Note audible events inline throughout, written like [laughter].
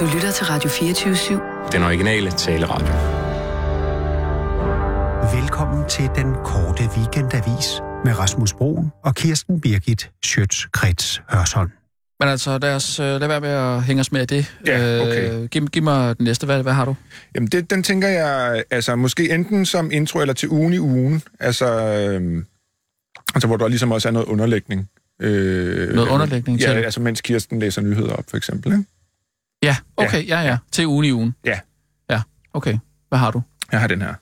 Du lytter til Radio 24-7. Den originale taleradio. Velkommen til den korte weekendavis med Rasmus Broen og Kirsten Birgit Schøtz-Krets Hørsholm. Men altså, lad, os, øh, lad være med at hænge os med i det. Ja, okay. Øh, giv, giv mig den næste. Hvad, hvad har du? Jamen, det, den tænker jeg, altså måske enten som intro eller til ugen i ugen, altså, øhm, altså hvor der ligesom også er noget underlægning. Øh, Noget underlægning ja, til? altså mens Kirsten læser nyheder op, for eksempel. Ikke? Ja, okay, ja, ja. ja. Til ugen i ugen. Ja. Ja, okay. Hvad har du? Jeg har den her.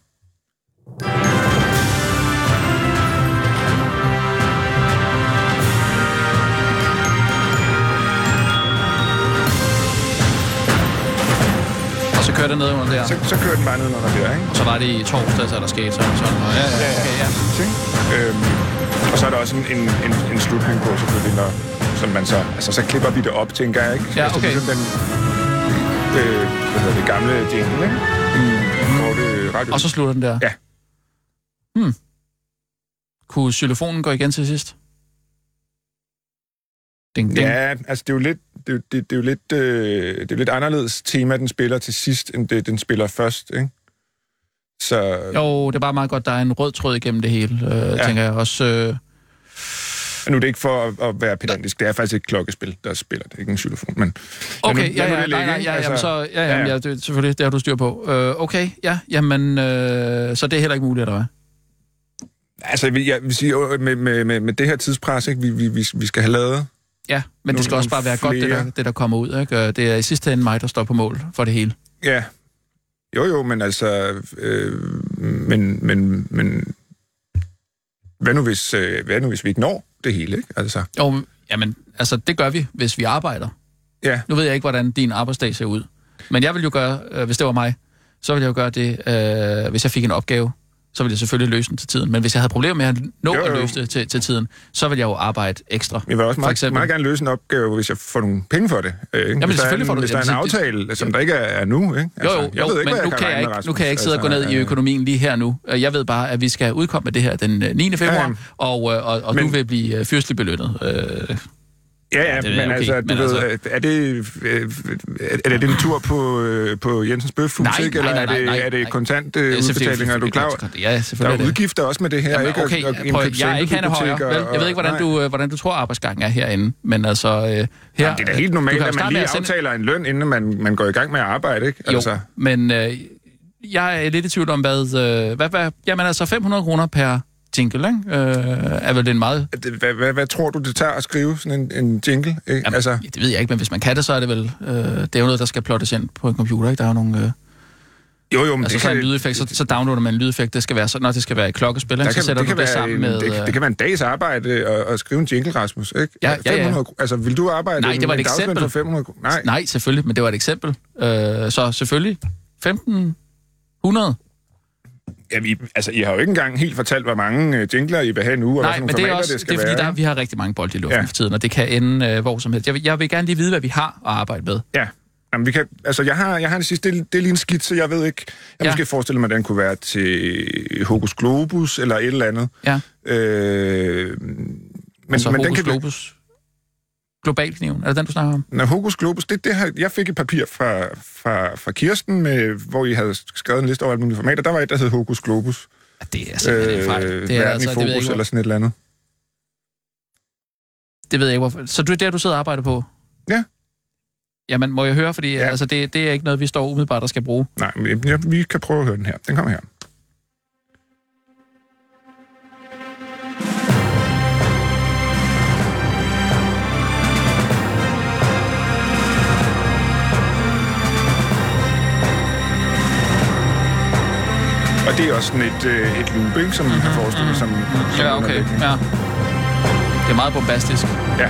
Og så kører det ned under der. Så, så kører den bare ned under der, ikke? Og så var det i torsdag, så der skete sådan og sådan. Og ja, ja, okay, ja. Ting. Øhm, og så er der også en, en, en, en slutning på, selvfølgelig, når, som man så... Altså, så klipper vi det op, tænker jeg, ikke? Ja, Altså, okay. Ligesom den, øh, hvad hedder det, gamle jingle, ikke? Mm. Korte radio. Og så slutter den der. Ja. Hmm. Kunne xylofonen gå igen til sidst? Ding, ding. Ja, altså det er jo lidt, det, er jo- det, det er jo lidt, øh, det er jo lidt anderledes tema, den spiller til sidst, end det, den spiller først, ikke? Så Jo, det er bare meget godt, der er en rød tråd igennem det hele, øh, ja. Ja. tænker jeg også. Øh, nu er det ikke for at, at være pedantisk, det er faktisk et klokkespil, der spiller det, ikke en xylofon, men... Okay, ja, lad nu ja, det nej, ligge, nej, ikke? ja, Altså, jamen, så, ja, ja, jamen, ja. ja, det, selvfølgelig, det har du styr på. Øh, okay, ja, jamen, øh, så det er heller ikke muligt, eller hvad? Altså, jeg vil, jeg vil sige, øh, med, med, med, med det her tidspres, ikke, vi, vi, vi, vi skal have lavet... Ja, men det Nogle- skal også bare være nogle godt, det der, flere. det der kommer ud, ikke? Øh, Det er i sidste ende mig, der står på mål for det hele. Ja, jo jo, men altså... Øh, men, men, men... Hvad nu, hvis, øh, hvad nu, hvis vi ikke når det hele, ikke? Altså, Jo, men- jamen, altså, det gør vi, hvis vi arbejder. ja. Nu ved jeg ikke, hvordan din arbejdsdag ser ud. Men jeg vil jo gøre, øh, hvis det var mig, så ville jeg jo gøre det, øh, hvis jeg fik en opgave, så ville jeg selvfølgelig løse den til tiden. Men hvis jeg havde problemer med at nå Jo, at jo. løse det til, til tiden, så ville jeg jo arbejde ekstra. Jeg vil også For meget, eksempel. meget gerne løse en opgave, hvis jeg får nogle penge for det. Øh, ikke? hvis der er selvfølgelig en, får du Hvis det. der er en Jamen, det- aftale, som der ikke er, er nu. Altså, Ikke? Jo, jo, jo, men hvad nu kan, regne jeg med, ikke, nu Rasmus. kan jeg ikke sidde og gå ned i øh, økonomien lige her nu. Øh, Jeg ved bare, at vi skal udkomme med det her den øh, 9. februar, Ja, ja. og, øh, og, og men, du Men- vil blive øh, fyrstelig belønnet. Øh, Ja, ja, det er men okay, altså, du men ved, altså- er det, øh, er, er det en tur på, øh, på Jensens Bøfhus, Nej, ikke? Eller nej, nej, er det, nej, er nej. det kontant det øh, selvfølgelig- udbetalinger, er du klar? over? Ja, Der selvfølgelig er er det. udgifter også med det her, Jamen, ikke? Og- okay, og prøv, indkøbe jeg er ikke Hanne Højer. sænkebiblioteker Vel, jeg ved ikke, hvordan og- du, øh, hvordan du tror, arbejdsgangen er herinde, men altså... Øh, her, Jamen, det er da helt du normalt, kan jo at man starte med lige sende- aftaler en løn, inden man, man går i gang med at arbejde, ikke? Jo, Altså, men øh, jeg er lidt i tvivl om, hvad... Øh, hvad, hvad jamen altså, 500 kroner per jingle, ikke? Øh, er vel en meget det- hvad, hvad, hvad tror du, det tager at skrive sådan en, en jingle? Ikke? Jamen, altså... Det ved jeg ikke, men hvis man kan det, så er det vel... Øh, det er jo noget, der skal plottes ind på en computer, ikke? Der er jo nogle... Øh, jo, jo, men altså, det så er kan, en lydeffekt, så, så downloader man en lydeffekt, det skal være sådan, når det skal være et klokkespil, ikke? Så sætter du det sammen en, med... det, kan- øh, det kan være en dags arbejde at, at skrive en jingle, Rasmus, ikke? Ja, ja, ja. kr- altså, vil du arbejde Nej, en- det var et en dagsløn eksempel. for 500 kroner? Nej. Nej, selvfølgelig, men det var et eksempel. Øh, så selvfølgelig 15... 100? Ja, vi, altså, I har jo ikke engang helt fortalt, hvor mange øh, jingler I vil have nu, og hvad Nej, for men nogle det er formater også det det skal er, fordi være. der, ikke? vi har rigtig mange bolde i luften Ja. for tiden, og det kan ende øh, hvor som helst. Jeg, vil- jeg vil gerne lige vide, hvad vi har at arbejde med. Ja. Jamen, vi kan, altså, jeg har, jeg har det sidste, det, er- det er lige en skitse, jeg ved ikke. Jeg Ja. ja. måske forestille mig, at den kunne være til Hokus Globus eller et eller andet. Ja, Øh, men, altså men den Hokus kan, Globus. Global kniven, er det den, du snakker om? Nå, Hokus Globus, det, det her, jeg fik et papir fra, fra, fra Kirsten, med, hvor I havde skrevet en liste over alle mulige formater. Der var et, der hed Hokus Globus. Ja, Det er simpelthen øh, en fejl. Det er verden altså, i det ved fokus jeg ikke, eller hvor, sådan et eller andet. det ved jeg ikke hvorfor. Så det er der, du sidder og arbejder på? Ja. Jamen, må jeg høre, fordi ja. Ja. altså, det, det er ikke noget, vi står umiddelbart og skal bruge. Nej, men ja, vi kan prøve at høre den her. Den kommer her. Og det er også sådan et, øh, et loop, ikke, som man kan forestille sig. som- som Mm-hmm. Ja, okay. underlægning. Ja. Det er meget bombastisk. Ja.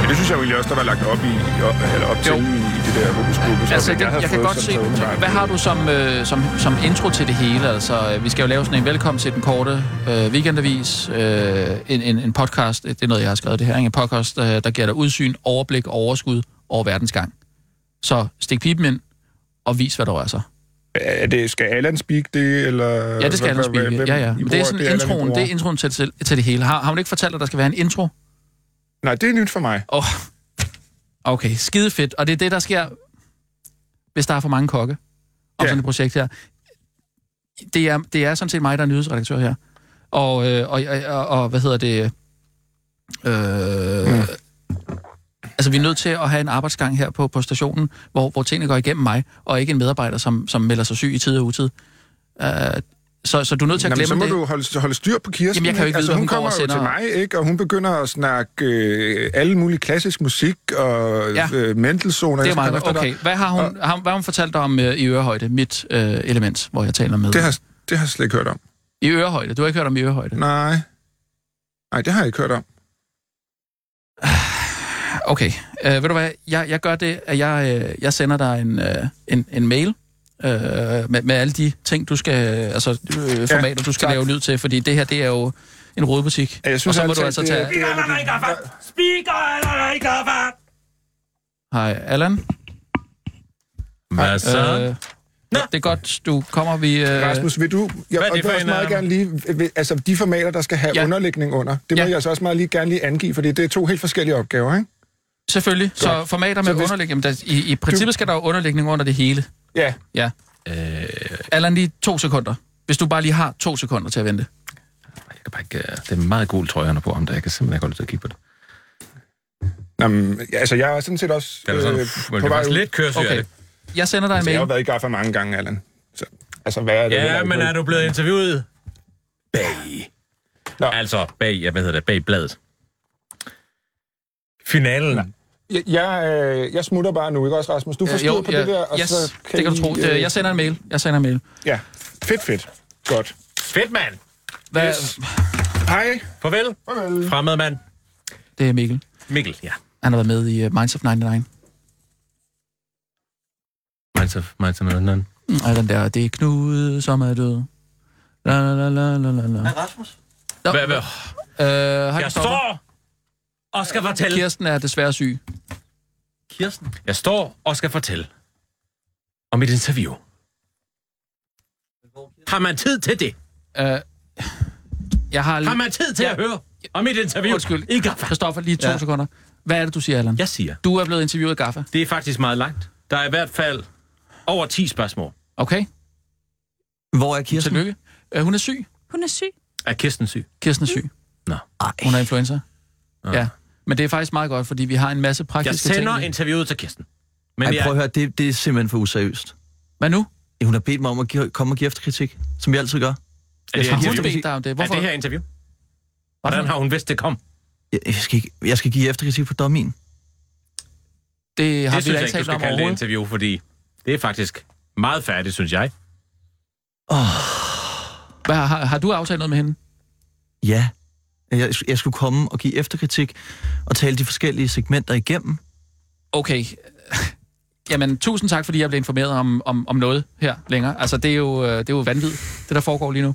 Men det synes jeg jo egentlig også, der var lagt op, i, eller op til Jo. i, i det der hokuspokus. Altså, oplæg, det, havde jeg kan fået, godt som se... så åbenbart- Hvad har du som, øh, som, som intro til det hele? Altså, øh, vi skal jo lave sådan en velkommen til den korte øh, weekendavis, øh, en, en, en podcast, det er noget, jeg har skrevet det her, ikke? en podcast, øh, der giver dig udsyn, overblik, overskud over verdensgang. Så stik pipen ind, og vis, hvad der rører sig. Er det, skal Allan speak det, eller... Ja, det skal Allan Spiegel. Ja, ja. Men det er sådan introen, det er er introen til, til, til det hele. Har, har hun ikke fortalt, at der skal være en intro? Nej, det er nyt for mig. Oh. Okay, skide fedt. Og det er det, der sker, hvis der er for mange kokke om Ja. sådan et projekt her. Det er, det er sådan set mig, der er nyhedsredaktør her. Og, øh, og, og, og, og hvad hedder det... Øh, mm. Altså, vi er nødt til at have en arbejdsgang her på, på stationen, hvor, hvor tingene går igennem mig, og ikke en medarbejder, som, som melder sig syg i tid og utid. Uh, så, så du er nødt til at Nå, men så glemme må det. du holde, holde styr på Kirsten. Jamen, jeg kan jo ikke vide, altså, hvad hun, hun går kommer og jo til sender. mig, ikke? og hun begynder at snakke øh, alle mulige klassisk musik og Ja. ja. øh, Mendelssohn. og Det er jeg skal meget komme godt. efter Okay, dig. hvad har hun, har, hvad har hun fortalt dig om øh, i ørehøjde, mit øh, element, hvor jeg taler med? Det har, det har jeg slet ikke hørt om. I ørehøjde? Du har ikke hørt om i ørehøjde? Nej. Nej, det har jeg ikke hørt om. Okay, øh, ved du hvad, jeg, jeg gør det, at jeg, øh, jeg sender dig en, øh, en, en mail øh, med, med alle de ting, du skal, altså øh, formater, ja, du skal tak. lave lyd til, fordi det her, det er jo en rodebutik. Ja, Jeg synes, og så må altså, du altså det- tage... det er- Hej, Allan. Hvad så? Øh, det er godt, du kommer, vi... Øh, Rasmus, vil du... Jeg, Hvad er og det det for vil også en, meget øh, gerne lige... vil- Altså, de formater, der skal have Ja. ja. underlægning under, det må Ja. ja. jeg altså også meget lige gerne lige angive, fordi det er to helt forskellige opgaver, ikke? Selvfølgelig. Så formater med Så hvis- underlæg... Jamen, der, i, I princippet skal der jo underlægning under det hele. Ja. Ja. Øh... Allan, lige to sekunder. Hvis du bare lige har to sekunder til at vente. Jeg kan bare ikke, øh, det er en meget gul trøje, han har på ham, der jeg kan simpelthen ikke holde til at kigge på det. Nå, men, ja, altså, jeg er sådan set også Det er da sådan, øh, øh, på det er vej faktisk ud. lidt kørsel okay. Okay. Jeg sender dig en Altså, jeg har jo mail. været i gaffa mange gange, Allan. Så, altså, hvad er det? heller Ja, ikke men ved? er du blevet interviewet? Bag. Nå. Altså, bag, ja, hvad hedder det, bag bladet. Finalen. Jeg, jeg, øh, jeg smutter bare nu, ikke også, Rasmus? Du Øh, forstår på ja, det der, og yes, så kan det kan du I, tro. Øh... Jeg sender en mail. Jeg sender en mail. Ja, fedt, fedt. Godt. Fedt, mand! Hvad... Yes. Hej. Farvel. Farvel. Fremmed mand. Det er Mikkel. Mikkel, ja. Han har været med i uh, Minds of 99. Minds of, minds of London. Mm, Og den der, det er Knud, som er død. La, la, la, la, la, la. Rasmus? Nå, Hvad, hvad? Øh, hej, Jeg Christoffer. står og skal fortælle. Kirsten er desværre syg. Kirsten. Jeg står og skal fortælle om mit interview. Har man tid til det? Øh, jeg har... Har man tid til Ja. at høre om mit interview? Undskyld. I Gaffa. Christoffer, lige to Ja. sekunder. Hvad er det, du siger, Allan? Jeg siger, Du er blevet interviewet af Gaffa. det er faktisk meget langt. Der er i hvert fald over 10 spørgsmål. Okay, Hvor er Kirsten? tillykke. Øh, hun er syg. Hun er syg. Mm. Er Kirsten syg? Kirsten er syg. Ej. Hun er influencer. Ja. Men det er faktisk meget godt, fordi vi har en masse Jeg praktiske ting. sender interviewet til Kirsten. Men Ej, prøv at jeg, høre, det, det er simpelthen for useriøst. Hvad nu? Ja, Hun har bedt mig om at give, komme og give efterkritik, som jeg altid gør. er det, Jeg her tror, Har hun skal interview? vi- bedt dig om det? Er Hvorfor? det her interview? Hvordan har hun vidst, det kom? Jeg, jeg, skal, ikke, jeg skal give efterkritik på dommen. Det har det det vi synes jeg da ikke altså ikke, du talt skal om kalde det overhovedet. interview, fordi det er faktisk meget færdigt, synes jeg. Hvad, har, har du aftalt noget med hende? Ja. Jeg, jeg skulle komme og give efterkritik og tale de forskellige segmenter igennem. Okay. [laughs] Jamen, tusind tak, fordi jeg blev informeret om, om, om noget her længere. Altså, det er jo, øh, det er jo vanvittigt, det der foregår lige nu.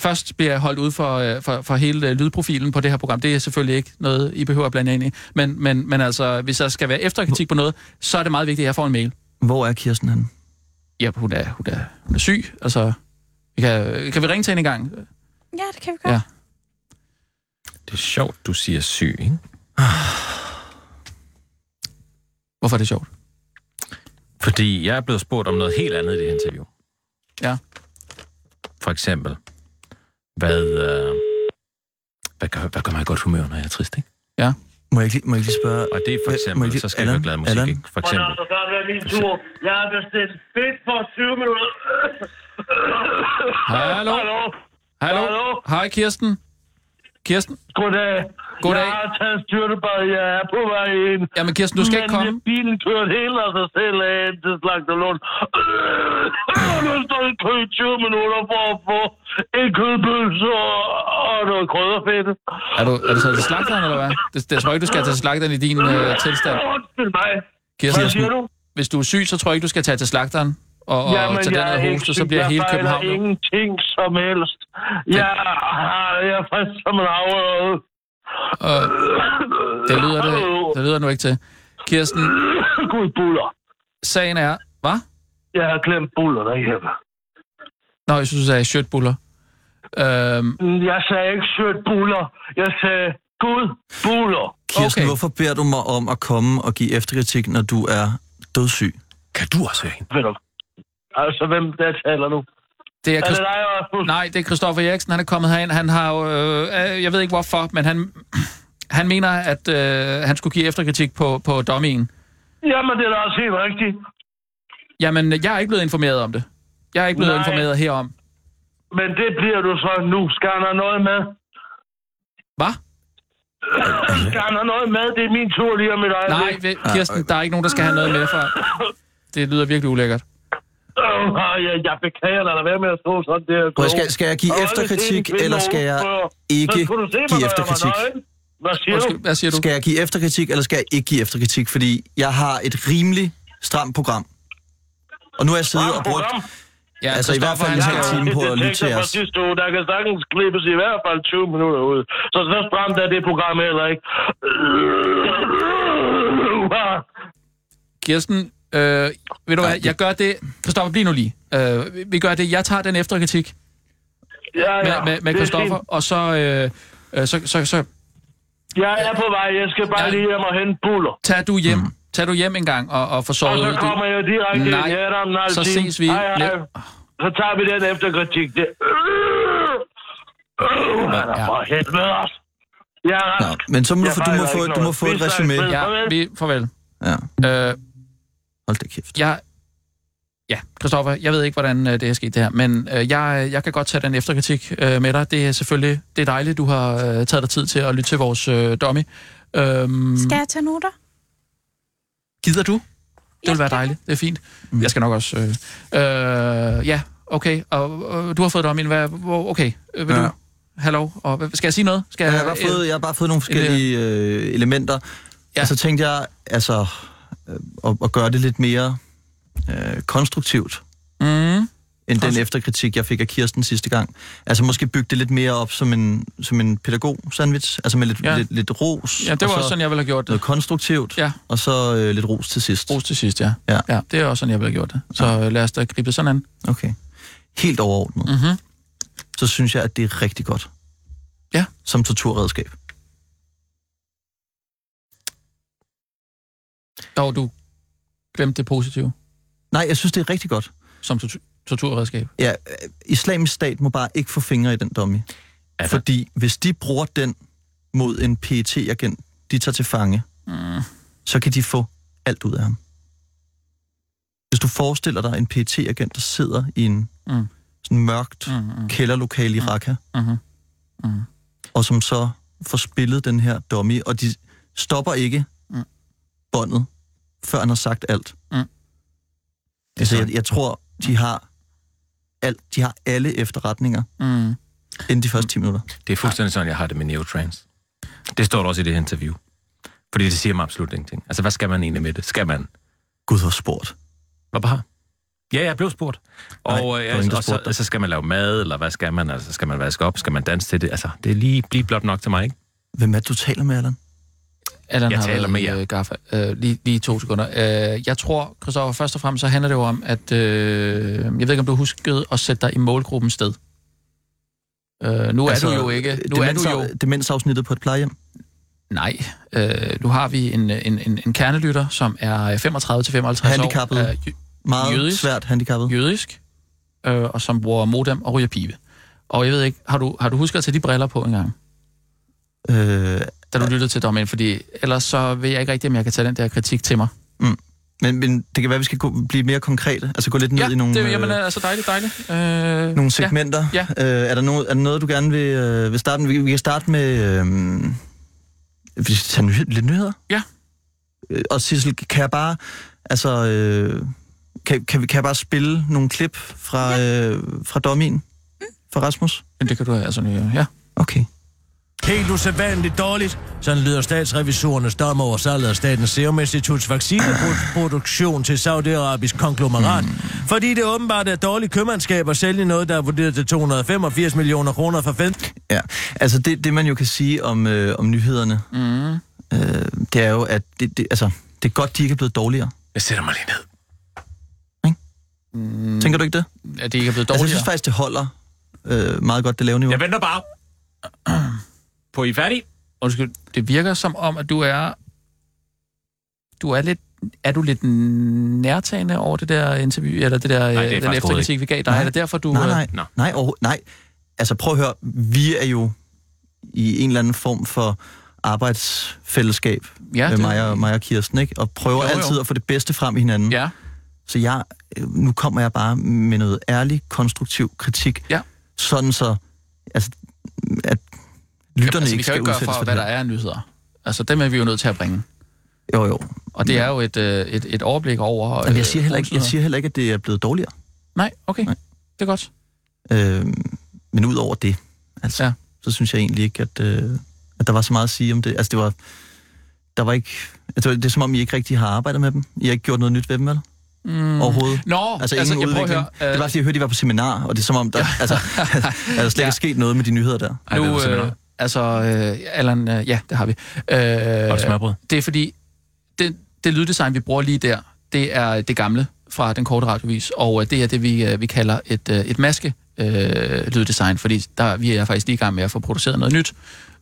Først bliver jeg holdt ud for, øh, for, for hele øh, lydprofilen på det her program. Det er selvfølgelig ikke noget, I behøver at blande jer ind i. Men, men, men altså, hvis der skal være efterkritik på noget, så er det meget vigtigt, at jeg får en mail. Hvor er Kirsten henne? Ja, hun er, hun er, hun er syg. Altså, vi kan, kan vi ringe til hende en gang? Ja, det kan vi godt. Ja. Ja. Det er sjovt, du siger syg, ikke? Hvorfor er det sjovt? Fordi jeg er blevet spurgt om noget helt andet i det her interview. Ja. For eksempel, hvad, øh, hvad, gør, hvad gør mig i godt humør, når jeg er trist, ikke? Må jeg ikke, lige- må jeg ikke lige spørge... Og det er for Hvad- må eksempel, jeg lige- så skal jeg høre Allan? glad musik, Allan? ikke? For Men eksempel. altså, så er det min tur. Jeg har bestilt fedt for 20 minutter. Hallo? Hallo? Hallo? Hej, Kirsten. Kirsten? Goddag. Goddag. Jeg har taget styrtebad. Jeg er på vej ind. Jamen, Kirsten, du skal ikke komme. Men bilen kørte helt af sig selv af ind til Slagterlund. Nu står jeg i kø i 20 minutter for at få en kødpølse og, og noget krydderfedt. Er du, er du taget til slagteren, eller hvad? Det, det jeg tror ikke, du skal tage til slagteren i din øh, tilstand. Undskyld mig. Hvad Kirsten, siger du? hvis du er syg, så tror jeg ikke, du skal tage til slagteren og, og Jamen, tage jeg er derned og ikke hoste, syg. så bliver hele København... Jeg fejler jo- ingenting som helst. Jeg, har- jeg er frisk som en afrøde. Og, Øh, det, lyder det, det lyder nu ikke til. Kirsten, Gud, buller. sagen er... Hvad? Jeg har glemt buller derhjemme. Nå, jeg synes, du sagde shirtbuller. Øhm, Mm, Jeg sagde ikke sødt buller. Jeg sagde Gud buler. Kirsten, Okay. okay. hvorfor beder du mig om at komme og give efterkritik, når du er dødssyg? Kan du også høre hende? Ved du? Altså, hvem der taler nu? Det er, Er Christ- det dig, Rasmus? Nej, det er Christoffer Eriksen. Han er kommet herind. Han har jo, øh, øh, jeg ved ikke hvorfor, men han, [clears throat] han mener, at øh, han skulle give efterkritik på, på dommingen. Jamen, det er da også helt rigtigt. Jamen, jeg er ikke blevet informeret om det. Jeg er ikke blevet Nej. Nej. informeret herom. Men det bliver du så nu. Skal han have noget med? Hvad? Skal han have noget med? Det er min tur lige om et Nej, øjeblik. ved- Kirsten, der er ikke nogen, der skal have noget med for. Det lyder virkelig ulækkert. Øh, jeg, jeg beklager dig. Lad være med at stå sådan der. Prøv, skal, skal jeg give efterkritik, eller skal jeg ikke give efterkritik? Hvad siger du? Undskyld, hvad siger du? Skal jeg give efterkritik, eller skal jeg ikke give efterkritik? Fordi jeg har et rimelig stramt program. Og nu har jeg siddet og brugt... Ja, altså, i hvert fald en Christoffer, hel han har- time. på at lytte til os. os. Sidste uge, der kan sagtens klippes i hvert fald 20 minutter ud. Så så stramt er det program heller ikke. Kirsten, øh, ved du hvad, jeg gør det... Christoffer, bliv nu lige. Øh, vi- vi gør det. Jeg tager den efterkritik Ja, ja. med, med, det med er Christoffer, fint. og så... Øh, øh, så, så, så Jeg er på vej. Jeg skal bare Ja. lige hjem og hente buller. tag du hjem. Mm. Tag du hjem en gang og, og få Og sovet så ud. Det- kommer jeg direkte Nej, ind. Jeg er der om en halv så time. ses vi. Hej, hej. Lidt. Så tager vi den efterkritik. Det... Han er for helvede os. Jeg er Nå, rask. men så må du, Jeg få, du må fejler få, ikke du må noget. få et Vi snakkes resume. ved. Ja, Farvel. vi, farvel. Ja, Øh, hold da kæft. jeg... Ja, Christoffer, jeg ved ikke, hvordan øh, det er sket det her, men øh, jeg, jeg kan godt tage den efterkritik øh, med dig. Det er selvfølgelig det er dejligt, du har øh, taget dig tid til at lytte til vores øh, dummy. Øhm, Skal jeg tage noter? gider du? Det Ja, vil være det dejligt. Det er fint. Mm. Jeg skal nok også... Øh, øh, ja, okay. Og, og du har fået dommen. Hvad, hvor, okay, øh, vil ja. Ja. du... Hallo? Og, hvad- skal jeg sige noget? Skal Jeg har, bare fået, jeg har bare fået nogle forskellige øh, elementer, Ja. ja. og så tænkte jeg altså øh, at, at gøre det lidt mere øh, konstruktivt Mm, end den Konstru- efterkritik, jeg fik af Kirsten sidste gang. Altså måske bygge det lidt mere op som en, som en pædagog-sandwich, altså med lidt, Ja. ja. lidt, lidt ros, ja, det og var så også sådan, jeg ville have gjort det. noget konstruktivt, Ja. og så øh, lidt ros til sidst. Ros til sidst, ja. Ja. ja. Det er også sådan, jeg ville have gjort det. Så øh, lad os da gribe det sådan an. Okay. Helt overordnet, Mhm. så synes jeg, at det er rigtig godt. Ja. Som torturredskab. Dog, du glemte det positive Nej, jeg synes, det er rigtig godt. som tortu- torturredskab. Ja, øh, islamisk stat må bare ikke få fingre i den dummy. Er der- Fordi hvis de bruger den mod en pet agent de tager til fange, Mm. så kan de få alt ud af ham. Hvis du forestiller dig en pet agent der sidder i en Mm. mm. sådan mørkt mm. Mm-hmm. kælderlokale i Raqqa, Mm-hmm. og som så får spillet den her dummy, og de stopper ikke Mm. mm. båndet, før han har sagt alt. Mm. Altså, sådan. jeg, jeg tror, de har, alt, de har alle efterretninger Mm. inden de første 10 minutter. Det er fuldstændig sådan, jeg har det med neotrans. Det står der også i det her interview. Fordi det siger mig absolut ingenting. Altså, hvad skal man egentlig med det? Skal man? Gud har spurgt. Hvad bare? Ja, jeg blev spurgt. Og, Nej, Nej, der var øh, ingen, altså, der og spurgte så, dig. så skal man lave mad, eller hvad skal man? Altså, skal man vaske op? Skal man danse til det? Altså, det er lige, lige blot nok til mig, ikke? Hvem er det, du taler med, Allan? Allan Jeg har taler været med i, jer. øh, Gaffa. Øh, lige, lige to sekunder. Øh, jeg tror, Christoffer, først og fremmest så handler det jo om, at øh, jeg ved ikke, om du huskede at sætte dig i målgruppens sted. Øh, nu altså, er du jo ikke... Nu er du jo... Demensafsnittet på et plejehjem. Nej. Øh, nu har vi en, en, en, en kernelytter, som er 35-55 år. Handicappet. er jø- Meget Jødisk. Jødisk. svært handicappet. jødisk, øh, og som bruger modem og ryger pibe. Og jeg ved ikke, har du, har du husket at tage de briller på engang? Øh, da du lyttede til dommen, fordi ellers så ved jeg ikke rigtigt, om jeg kan tage den der kritik til mig. men, men det kan være, vi skal gå, blive mere konkrete. Altså gå lidt ned ja, i nogle, det, jamen, øh, altså dejligt, dejligt. Øh, nogle segmenter. Ja. Øh, er, der no, er der noget, du gerne vil, øh, vil starte med? Vi, vi kan starte med... Øh, vi skal tage nyhed, lidt nyheder. Ja. Øh, og Sissel, kan jeg bare... Altså, øh, kan, kan, vi, kan jeg bare spille nogle klip fra, øh, fra dommen? Fra Rasmus? Ja, det kan du altså nu, ja. Okay. Helt usædvanligt dårligt. Sådan lyder statsrevisorernes dom over salget af Statens Serum Instituts vaccineproduktion til saudiarabisk konglomerat. Fordi det åbenbart er dårlig købmandskab at sælge noget, der er vurderet til 285 millioner kroner for 15 Ja, altså det, det man jo kan sige om, øh, om nyhederne, Mm. øh, det er jo, at det, det, altså, det er godt, de ikke er blevet dårligere. Jeg sætter mig lige ned. Mm. Tænker du ikke det? Er det ikke er blevet Altså, dårligere? jeg synes faktisk, det holder øh, meget godt det lave niveau. Jeg venter bare. [clears throat] På I er færdige? undskyld, det virker som om, at du er... Du er lidt... Er du lidt nærtagende over det der interview, eller det der, er øh, faktisk den overhovedet efterkritik, vi gav dig? Nej. Er det derfor, du... Nej, øh, nej, nå. nej, nej, overho- nej. Altså prøv at høre, vi er jo i en eller anden form for arbejdsfællesskab Ja, ja, med det- mig og, mig og Kirsten, ikke? og prøver Jo, jo, jo. jo. altid at få det bedste frem i hinanden. Ja, Så jeg, øh, nu kommer jeg bare med noget ærlig, konstruktiv kritik, Ja. sådan så, altså, at lytterne altså, vi ikke kan skal jo ikke gøre udsættes for, for hvad det der er af nyheder. Altså, dem er vi jo nødt til at bringe. her. Jo, jo. Og det er jo et, øh, et, et overblik over... Jamen, jeg, øh, siger heller ikke, jeg nyheder. siger heller ikke, at det er blevet dårligere. Nej, okay. Nej. Det er godt. Øh, men ud over det, altså, Ja. ja. så synes jeg egentlig ikke, at, øh, at der var så meget at sige om det. Altså, det var, der var ikke... Altså, det er som om, I ikke rigtig har arbejdet med dem. I har ikke gjort noget nyt ved dem, vel? Mm. Overhovedet. Nå, Altså, altså ingen jeg prøver at udvikling. høre... øh, det var, fordi jeg hørte, at I var på seminar, og det er som om, der, altså, er der slet ikke Ja. ja. sket noget med de nyheder der. Ej, hvad er nu, det, simpelthen? øh, altså, øh, Allan, øh, ja, det har vi. Og Øh, et smørbrød. det er fordi, det, det lyddesign, vi bruger lige der, det er det gamle fra den korte radiovis, og øh, det er det, vi, øh, vi kalder et, øh, et maske øh, lyddesign, fordi der, vi er faktisk lige i gang med at få produceret noget nyt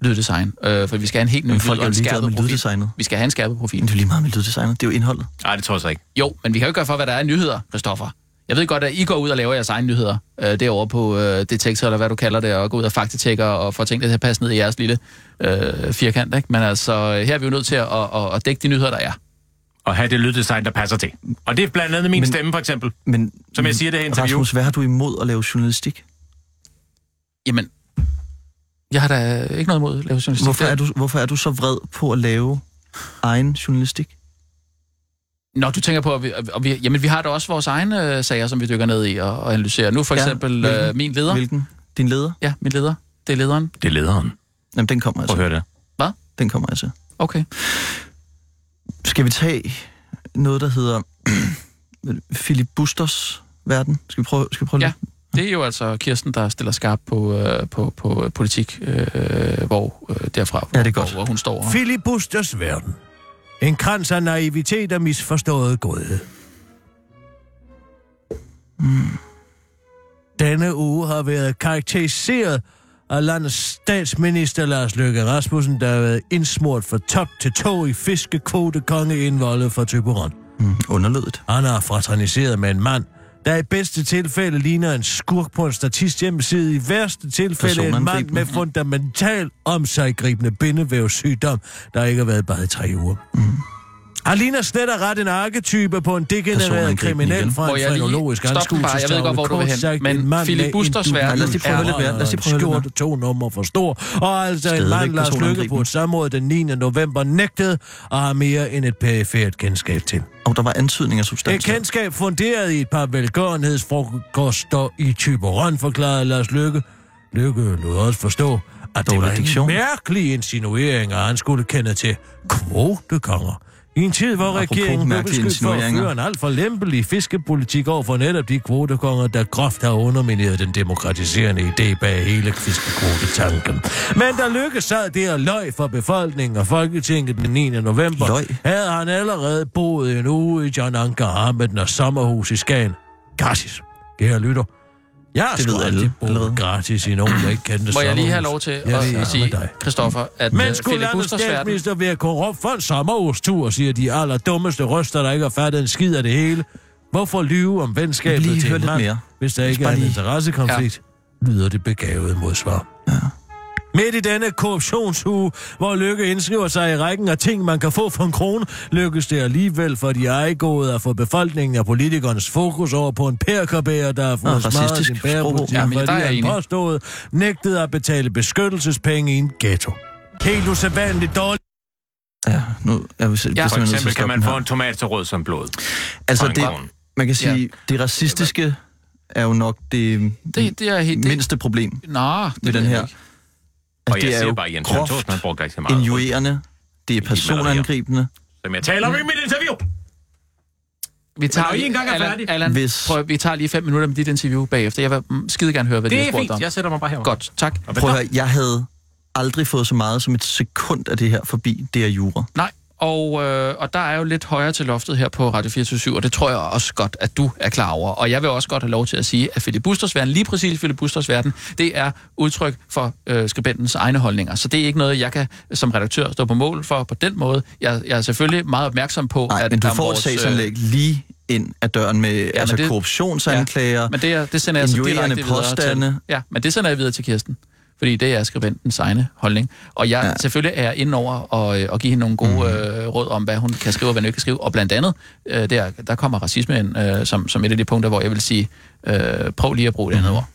lyddesign, øh, for vi skal have en helt ny Men lyd folk og er jo en ligeglade skærpet med profil. lyddesignet. Vi skal have en skærpet profil. Men det er jo lige meget med lyddesignet. Det er jo indholdet. Nej, det tror jeg så ikke. Jo, men vi kan jo ikke gøre for, hvad der er af nyheder, Christoffer. Jeg ved godt, at I går ud og laver jeres egne nyheder øh, derovre på øh, Detektor, eller hvad du kalder det, og går ud og faktatjekker og får tingene til at passe ned i jeres lille øh, firkant. Ikke? Men altså, her er vi jo nødt til at, at, at, at dække de nyheder, der er. Og have det lyddesign, der passer til. Og det er blandt andet min Men... stemme, for eksempel. Men, Som jeg siger i det her interview. Rasmus, hvad har du imod at lave journalistik? Jamen, jeg har da ikke noget imod at lave journalistik. Hvorfor Det- er, du, hvorfor er du så vred på at lave egen journalistik? Nå, du tænker på, at vi, og vi, jamen, vi har da også vores egne øh, sager, som vi dykker ned i og, og analyserer. Nu for Ja, eksempel ja, hvilken? øh, min leder. Hvilken? Din leder? Ja, min leder. Det er lederen. Det er lederen. Jamen, den kommer Prøv at altså. høre det. Den kommer altså. Okay. Skal vi tage noget, der hedder [clears throat] Philip Busters verden? Skal vi prøve, skal vi prøve Ja. lidt? Det er jo altså Kirsten, der stiller skarp på, øh, på, på øh, politik, øh, hvor øh, derfra, Ja, det er hvor, godt. hvor hun står. Philip Busters verden. En krans af naivitet og misforstået godhed. Denne uge har været karakteriseret af landets statsminister Lars Løkke Rasmussen, der har været indsmurt fra top til tå i fiskekvotekongeindvoldet fra Tøberon. Mm, underlødet. Han er fraterniseret med en mand, der i bedste tilfælde ligner en skurk på en statisthjemmeside, i værste tilfælde en mand Personangribende. med fundamental om sig gribende bindevævssygdom, der ikke har været bare i tre uger. Mm. Han ligner slet og ret en arketype på en degenereret Personangribende kriminel igen. fra Må en jeg lige- frenologisk Stop den bare, anskuelsestavle. jeg ved godt, hvor du vil hen, Kort sagt, men en mand Philip med en Busters dybden verden af Lad os lige prøve at høre lidt mere. Lad os lige prøve at høre skjort lidt og to numre for stor, og altså en mand, Stadigvæk Lars Løkke på personangribende. et samråd den 9. november nægtede og har mere end et perifært kendskab til. Og der var antydninger af substans. Et kendskab funderet i et par velgørenhedsfrokoster i Tyberon, forklarede Lars Lykke. Lykke lod også forstå, at det Dårlig var en diktion. mærkelig insinuering, at han skulle kende til kvotekonger. I en tid, hvor Apropos regeringen blev mærkelige beskyldt for at insinueringer. føre en alt for lempelig fiskepolitik over for netop de kvotekonger, der groft har undermineret den demokratiserende idé bag hele fiskekvotetanken. Men der lykkedes sad der og løg for befolkningen og Folketinget den 9. november, Løj? havde han allerede boet en uge i John Anker Ahmed og sommerhus i Skagen. Gratis. Kære lytter. Jeg har Det sgu ved alle aldrig boet allerede. gratis i nogen, der ikke kendte Må jeg lige have sommerhus. lov til Jeg at, ved ikke at med sige, dig. Christoffer, at øh, Men skulle Philip landets Busters verden... statsminister være korrupt for en sommerhustur, siger de allerdummeste røster, der ikke har fattet en skid af det hele. Hvorfor lyve om venskabet Lige til høre en lidt mand, mere. hvis der ikke er bare en lige- interessekonflikt, ja. lyder det begavede modsvar. Ja. Midt i denne korruptionsuge, hvor Lykke indskriver sig i rækken af ting, man kan få for en krone, lykkes det alligevel for de ejegåede at få befolkningen og politikernes fokus over på en perkerbærer, der har fået Nå, smadret racistisk sin bærepolitik, sprog. Ja, men der er fordi jeg han enig. påstået nægtede at betale beskyttelsespenge i en ghetto. Helt usædvanligt dårligt. Ja, nu er vi selv, Ja. ja, For eksempel kan man få en tomat så rød som blod. Altså, fra en det, gravn. man kan sige, det racistiske er jo nok det, Det, det er helt... Det, mindste problem. Altså, Nå, det ved ved den jeg her. Altså, ikke. Og jeg det er siger jo bare, at Jens Jørgen groft Thorsman brugte rigtig meget. rødt, injurerende, det er de personangribende, Som jeg taler om i mit interview. Vi tager, når I lige- engang er Allan, færdige- Allan Hvis- prøv, vi tager lige fem minutter med dit interview bagefter. Jeg vil mm, skide gerne høre, hvad det, Det det er er spurgt fint. om. Jeg sætter mig bare herovre. Godt, tak. Og hvad Prøv at så? høre, jeg havde aldrig fået så meget som et sekund af det her forbi, det er jura. Nej, Og, øh, og der er jo lidt højere til loftet her på Radio 24 og det tror jeg også godt, at du er klar over. Og jeg vil også godt have lov til at sige, at Philip Busters verden, lige præcis Philip Busters verden, det er udtryk for øh, skribentens egne holdninger. Så det er ikke noget, jeg kan som redaktør stå på mål for på den måde. Jeg, jeg er selvfølgelig meget opmærksom på, Nej, at men du om får et vores, øh, sagsanlæg lige ind ad døren med ja, altså men det, det- korruptionsanklager. Men det, er- det sender jeg så Injurierende direkte videre påstande. til. Ja, men det sender jeg videre til Kirsten. Fordi det er skribentens egne holdning. Og jeg Ja. Mhm. ja. selvfølgelig er inde over og, øh, og give hende nogle gode mm. øh, råd om, hvad hun kan skrive og hvad hun ikke kan skrive. Og blandt andet, øh, der, der kommer racisme ind øh, som, som et af de punkter, hvor jeg vil sige, øh, prøv lige at bruge det Mhm. andet ord.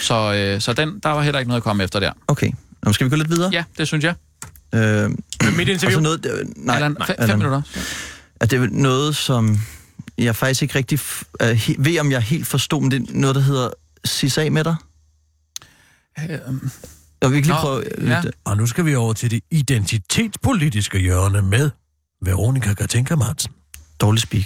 Så, øh, så den, der var heller ikke noget at komme efter der. Okay, Nå, skal vi gå lidt videre? Ja, det synes jeg. Øh, Mit og interview. så noget, øh, nej, Allan, nej, fe- fem Allan. minutter. at det er noget, som jeg faktisk ikke rigtig f- er he- ved, om jeg helt forstod, men det er noget, der hedder Sis af med dig. Øh, Jeg vil ikke lige Nå, prøve... ja. lidt- øh, Og nu skal vi over til det identitetspolitiske hjørne med Veronika Katinka Madsen. Dårlig speak.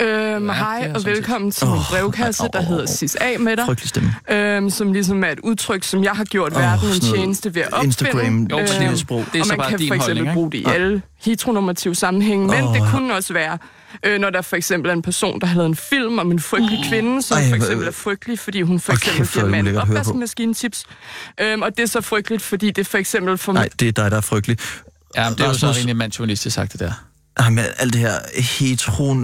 Øhm, Ja, ja, det er hej og sådan velkommen til min Åh, brevkasse, nej, åh, der åh, hedder åh. Sis af med dig, Frygtelig stemme. øhm, som ligesom er et udtryk, som jeg har gjort Åh, oh, verden en sådan noget tjeneste ved at opfinde. Instagram, Jo, men det er jo Øhm, sprog. Det er og så man bare kan din for eksempel holdning, ikke? bruge det i alle heteronormative sammenhænge, men Ah. Åh, det ja. kunne også være, øh, når der for eksempel er en person, der har lavet en film om en frygtelig kvinde, som Mm. Ej, for hvor- eksempel er frygtelig, fordi hun for Åh, eksempel kæft, hvor er giver det manden ulækkert at høre på. opvaskemaskinetips. Øhm, og det er så frygteligt, fordi det for eksempel for Nej, det er dig, der er frygtelig. Ja, men det er jo så Rasmus- rimelig mandsjournalistisk sagt, det der. Ej, men alt det her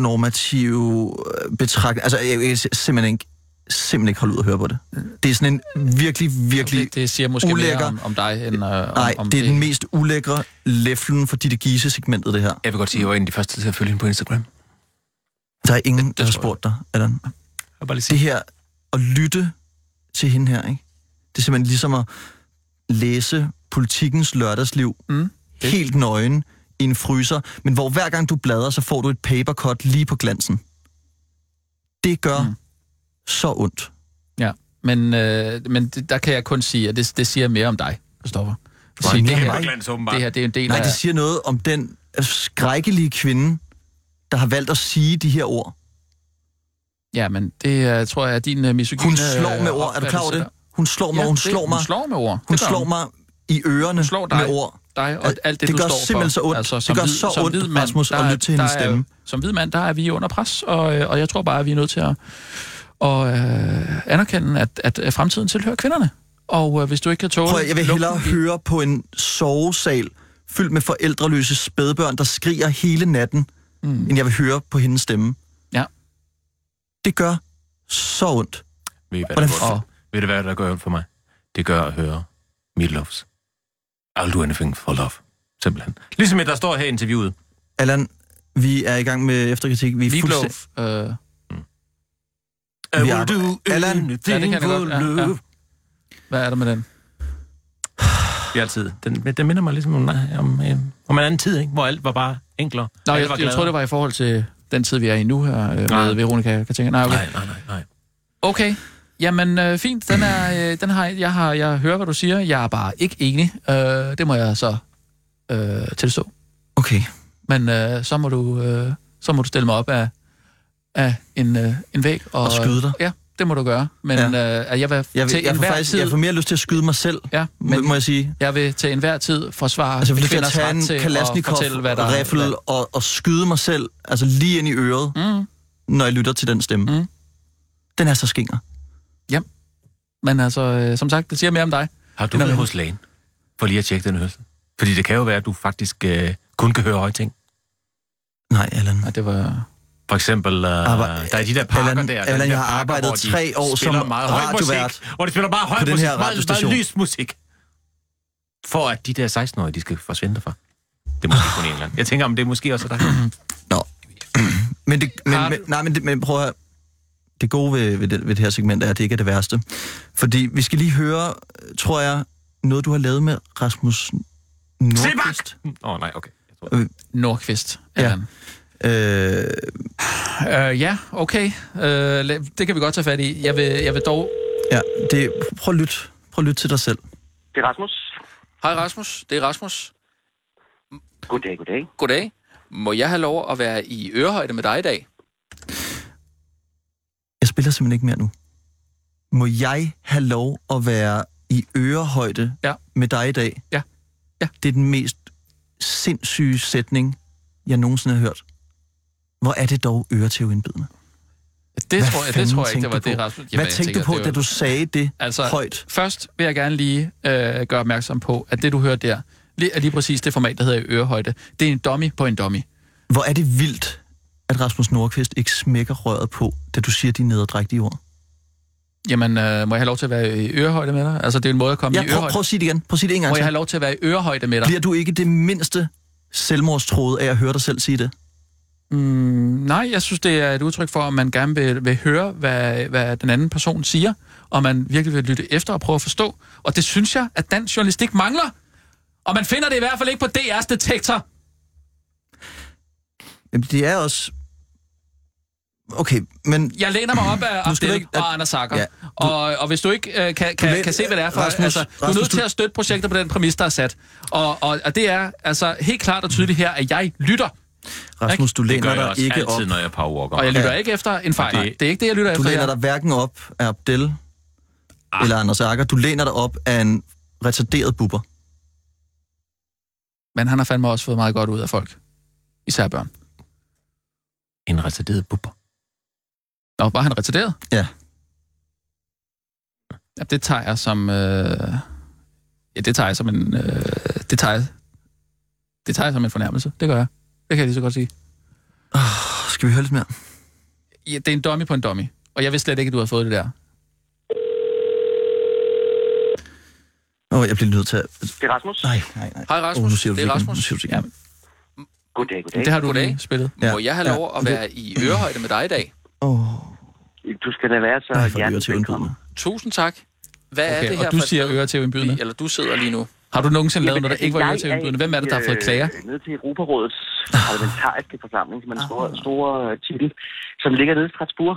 heteronormative øh, betragtning. Altså, jeg, jeg kan sim- simpelthen ikke, simpelthen ikke holde ud at høre på det. Det er sådan en virkelig, virkelig... Det, det siger måske ulækker. mere om, om dig, end øh, Nej, om, om det er den mest ulækre læflen for dit gise-segmentet, det her. Jeg vil godt sige, at jeg var en af de første til at følge hende på Instagram. Der er ingen, det, der har tror jeg. spurgt dig, Allan. Jeg vil bare lige sige, Det her, at lytte til hende her, ikke? Det er simpelthen ligesom at læse politikens lørdagsliv Mm, det. helt nøgen i en fryser, men hvor hver gang du bladrer, så får du et papercut lige på glansen. Det gør Mm. mm. så ondt. Ja, men, øh, men det, der kan jeg kun sige, at det, det siger mere om dig, Kristoffer. Hvor er Sige, han det, kæmper her, glans åbenbart. det her det er en del Nej, af... det siger noget om den skrækkelige kvinde, der har valgt at sige de her ord. Ja, men det uh, tror jeg er din uh, misogyne... Hun slår øh, med ord. Er du klar over opfattelse det? der. Hun slår mig, Ja, hun det- slår mig, Hun slår med ord. hun Det gør slår mig i ørerne slår dig. med ord. dig og alt det, Det du gør står for. Altså, simpelthen så ondt. Det gør så ondt, Rasmus, at der er- lytte til hendes der er- stemme. Som hvid mand, der er vi under pres, og, øh, og jeg tror bare, at vi er nødt til at, at øh, anerkende, at, at øh, fremtiden tilhører kvinderne. Og øh, hvis du ikke kan tåle... Prøv at, jeg vil lugten hellere i- høre på en sovesal fyldt med forældreløse spædbørn, der skriger hele natten, mm. end jeg vil høre på hendes stemme. Ja. Det gør så ondt. Ved I, hvad Hvordan der gør, f- ondt for- ved du, hvad der gør ondt for mig? Det gør at høre Meatloaf's I'll do anything for love. Simpelthen. Ligesom der står her i interviewet. Allan, vi er i gang med efterkritik. Vi er Vi blev... fuldstændig... Øh, I Vi will arbejder- do Allan? anything Ja, det kan jeg for godt, ja, ja. love. hvad er der med den? Det er altid. Den, den minder mig ligesom om, om, øh, om en anden tid, ikke? hvor alt var bare enklere. Nå, Alle jeg, var jeg, jeg tror, gladere. det var i forhold til den tid, vi er i nu her øh, Nej. med Veronica Katinka. Nej, okay. Nej, nej, nej, nej. Okay. Jamen, øh, fint. Den er, øh, den har, jeg, har, jeg hører, hvad du siger. Jeg er bare ikke enig. Øh, det må jeg så øh, tilstå. Okay. Men øh, så, må du, øh, så må du stille mig op af, af en, øh, en væg. Og, Og skyde dig. Ja, det må du gøre. Men ja. øh, at jeg vil, Jeg, til vil, jeg, får enhver faktisk, tid, jeg får mere lyst til at skyde mig selv, ja, men, men må jeg sige. jeg vil til enhver tid forsvare Altså, jeg får lyst til at kvinders tage ret en til at kalasnikov fortælle, hvad der er- hvad- rifle og, og skyde mig selv, altså lige ind i øret, Mm. når jeg lytter til den stemme. Mm. Den er så skinger. Men altså, øh, som sagt, det siger mere om dig. Har du Den er været med. hos lægen? For lige at tjekke den hørelse. Fordi det kan jo være, at du faktisk øh, kun kan høre høje ting. Nej, Allan. Nej, det var... For eksempel, øh, Arbejde- der er de der parker Ah, Allan- der. der er Allan, de der jeg har parker, arbejdet hvor de tre år som spiller meget høj radiovært musik, Hvor de spiller bare høj på den musik, her meget, radiostation. meget lys musik. For at de der 16-årige, de skal forsvinde derfra. Det er måske kun i England. Jeg tænker, om det er måske også dig. [clears throat] Men, det, men, Har men, nej, men, det, men prøv at høre. Det gode ved, ved, det, ved det her segment er, at det ikke er det værste. Fordi vi skal lige høre, tror jeg, noget du har lavet med Rasmus Nordqvist. Åh, oh, nej, okay. Jeg tror- Nordqvist. Ja. Allan. Øh, Øh, ja, okay. Øh, la- det kan vi godt tage fat i. Jeg vil, jeg vil dog... ja, det, prøv at lytte. Prøv at lytte til dig selv. Det er Rasmus. Hej Rasmus, det er Rasmus. Goddag, goddag. Goddag. Må jeg have lov at være i ørehøjde med dig i dag? Jeg spiller simpelthen ikke mere nu. Må jeg have lov at være i ørehøjde Ja. med dig i dag? Ja. Ja. Det er den mest sindssyge sætning, jeg nogensinde har hørt. Hvor er det dog øretæveindbydende? Det Hvad tror jeg, det fanden tror jeg ikke, tænkte det var du det, på? Rasmus... Hvad tænkte du på, da du sagde det altså, højt? Først vil jeg gerne lige øh, gøre opmærksom på, at det, du hører der, lige, er lige præcis det format, der hedder ørehøjde. Det er en dummy på en dummy. Hvor er det vildt, at Rasmus Nordqvist ikke smækker røret på, da du siger de nederdrægtige ord? Jamen, øh, må jeg have lov til at være i ørehøjde med dig? Altså, det er en måde at komme Ja, i prøv, ørehøjde. prøv at sige det igen. Prøv at sige det en gang må jeg til. have lov til at være i ørehøjde med dig? Bliver du ikke det mindste selvmordstroet af at høre dig selv sige det? Mm, nej, jeg synes, det er et udtryk for, at man gerne vil, vil høre, hvad, hvad den anden person siger, og man virkelig vil lytte efter og prøve at forstå. Og det synes jeg, at dansk journalistik mangler. Og man finder det i hvert fald ikke på DR's detektor. Jamen, det er også... Okay, men... Jeg læner mig op af Nu skal du Abdel ikke- og Anders Sager. Ja, Ja, du- og, og hvis du ikke øh, kan, Du læ- kan, kan se, hvad det er for... Rasmus, altså, du er Rasmus, nødt til du- at støtte projekter på den præmis, der er sat. Og, og, og det er altså helt klart og tydeligt her, at jeg lytter. Rasmus, du Det gør læner jeg dig også ikke op. altid, når jeg powerwalker. Og jeg lytter Ja. ikke efter en fejl. Og Det, det- det er ikke det, jeg lytter Du efter. læner her. dig hverken op af Abdel ah. eller Anders Akker. Du læner dig op af en retarderet buber. Men han har fandme også fået meget godt ud af folk. Især børn. En retarderet bubber. Nå, var han retarderet? Ja. ja det tager jeg som... Øh... Ja, det tager jeg som en... Øh... Det, tager jeg... det tager jeg som en fornærmelse. Det gør jeg. Det kan jeg lige så godt sige. Åh, Skal vi høre lidt mere? Ja, det er en dummy på en dummy. Og jeg vidste slet ikke, at du havde fået det der. Åh, jeg bliver nødt til at... Det er Rasmus. Nej, nej, nej. Hej Åh, Rasmus. nu siger du det er igen. Rasmus. Nu siger du igen. ja, Goddag, goddag. det har du Goddag. lige spillet. Ja. Ja. Må jeg have Ja. lov at være i ørehøjde med dig i dag? Åh, Du skal da være så nej, for hjertelig velkommen. øretævindbydende. Tusind tak. Hvad okay, Okay, er det her og du for et siger sted, øre til indbydende. Eller du sidder lige nu. Har du nogensinde lavet noget, der altså, ikke var jeg øre til indbydende? Hvem er det, der har fået øh, klager? Nede til Europarådets parlamentariske forsamling, som er Ah. en stor, stor øh, titel, som ligger nede i Strasbourg.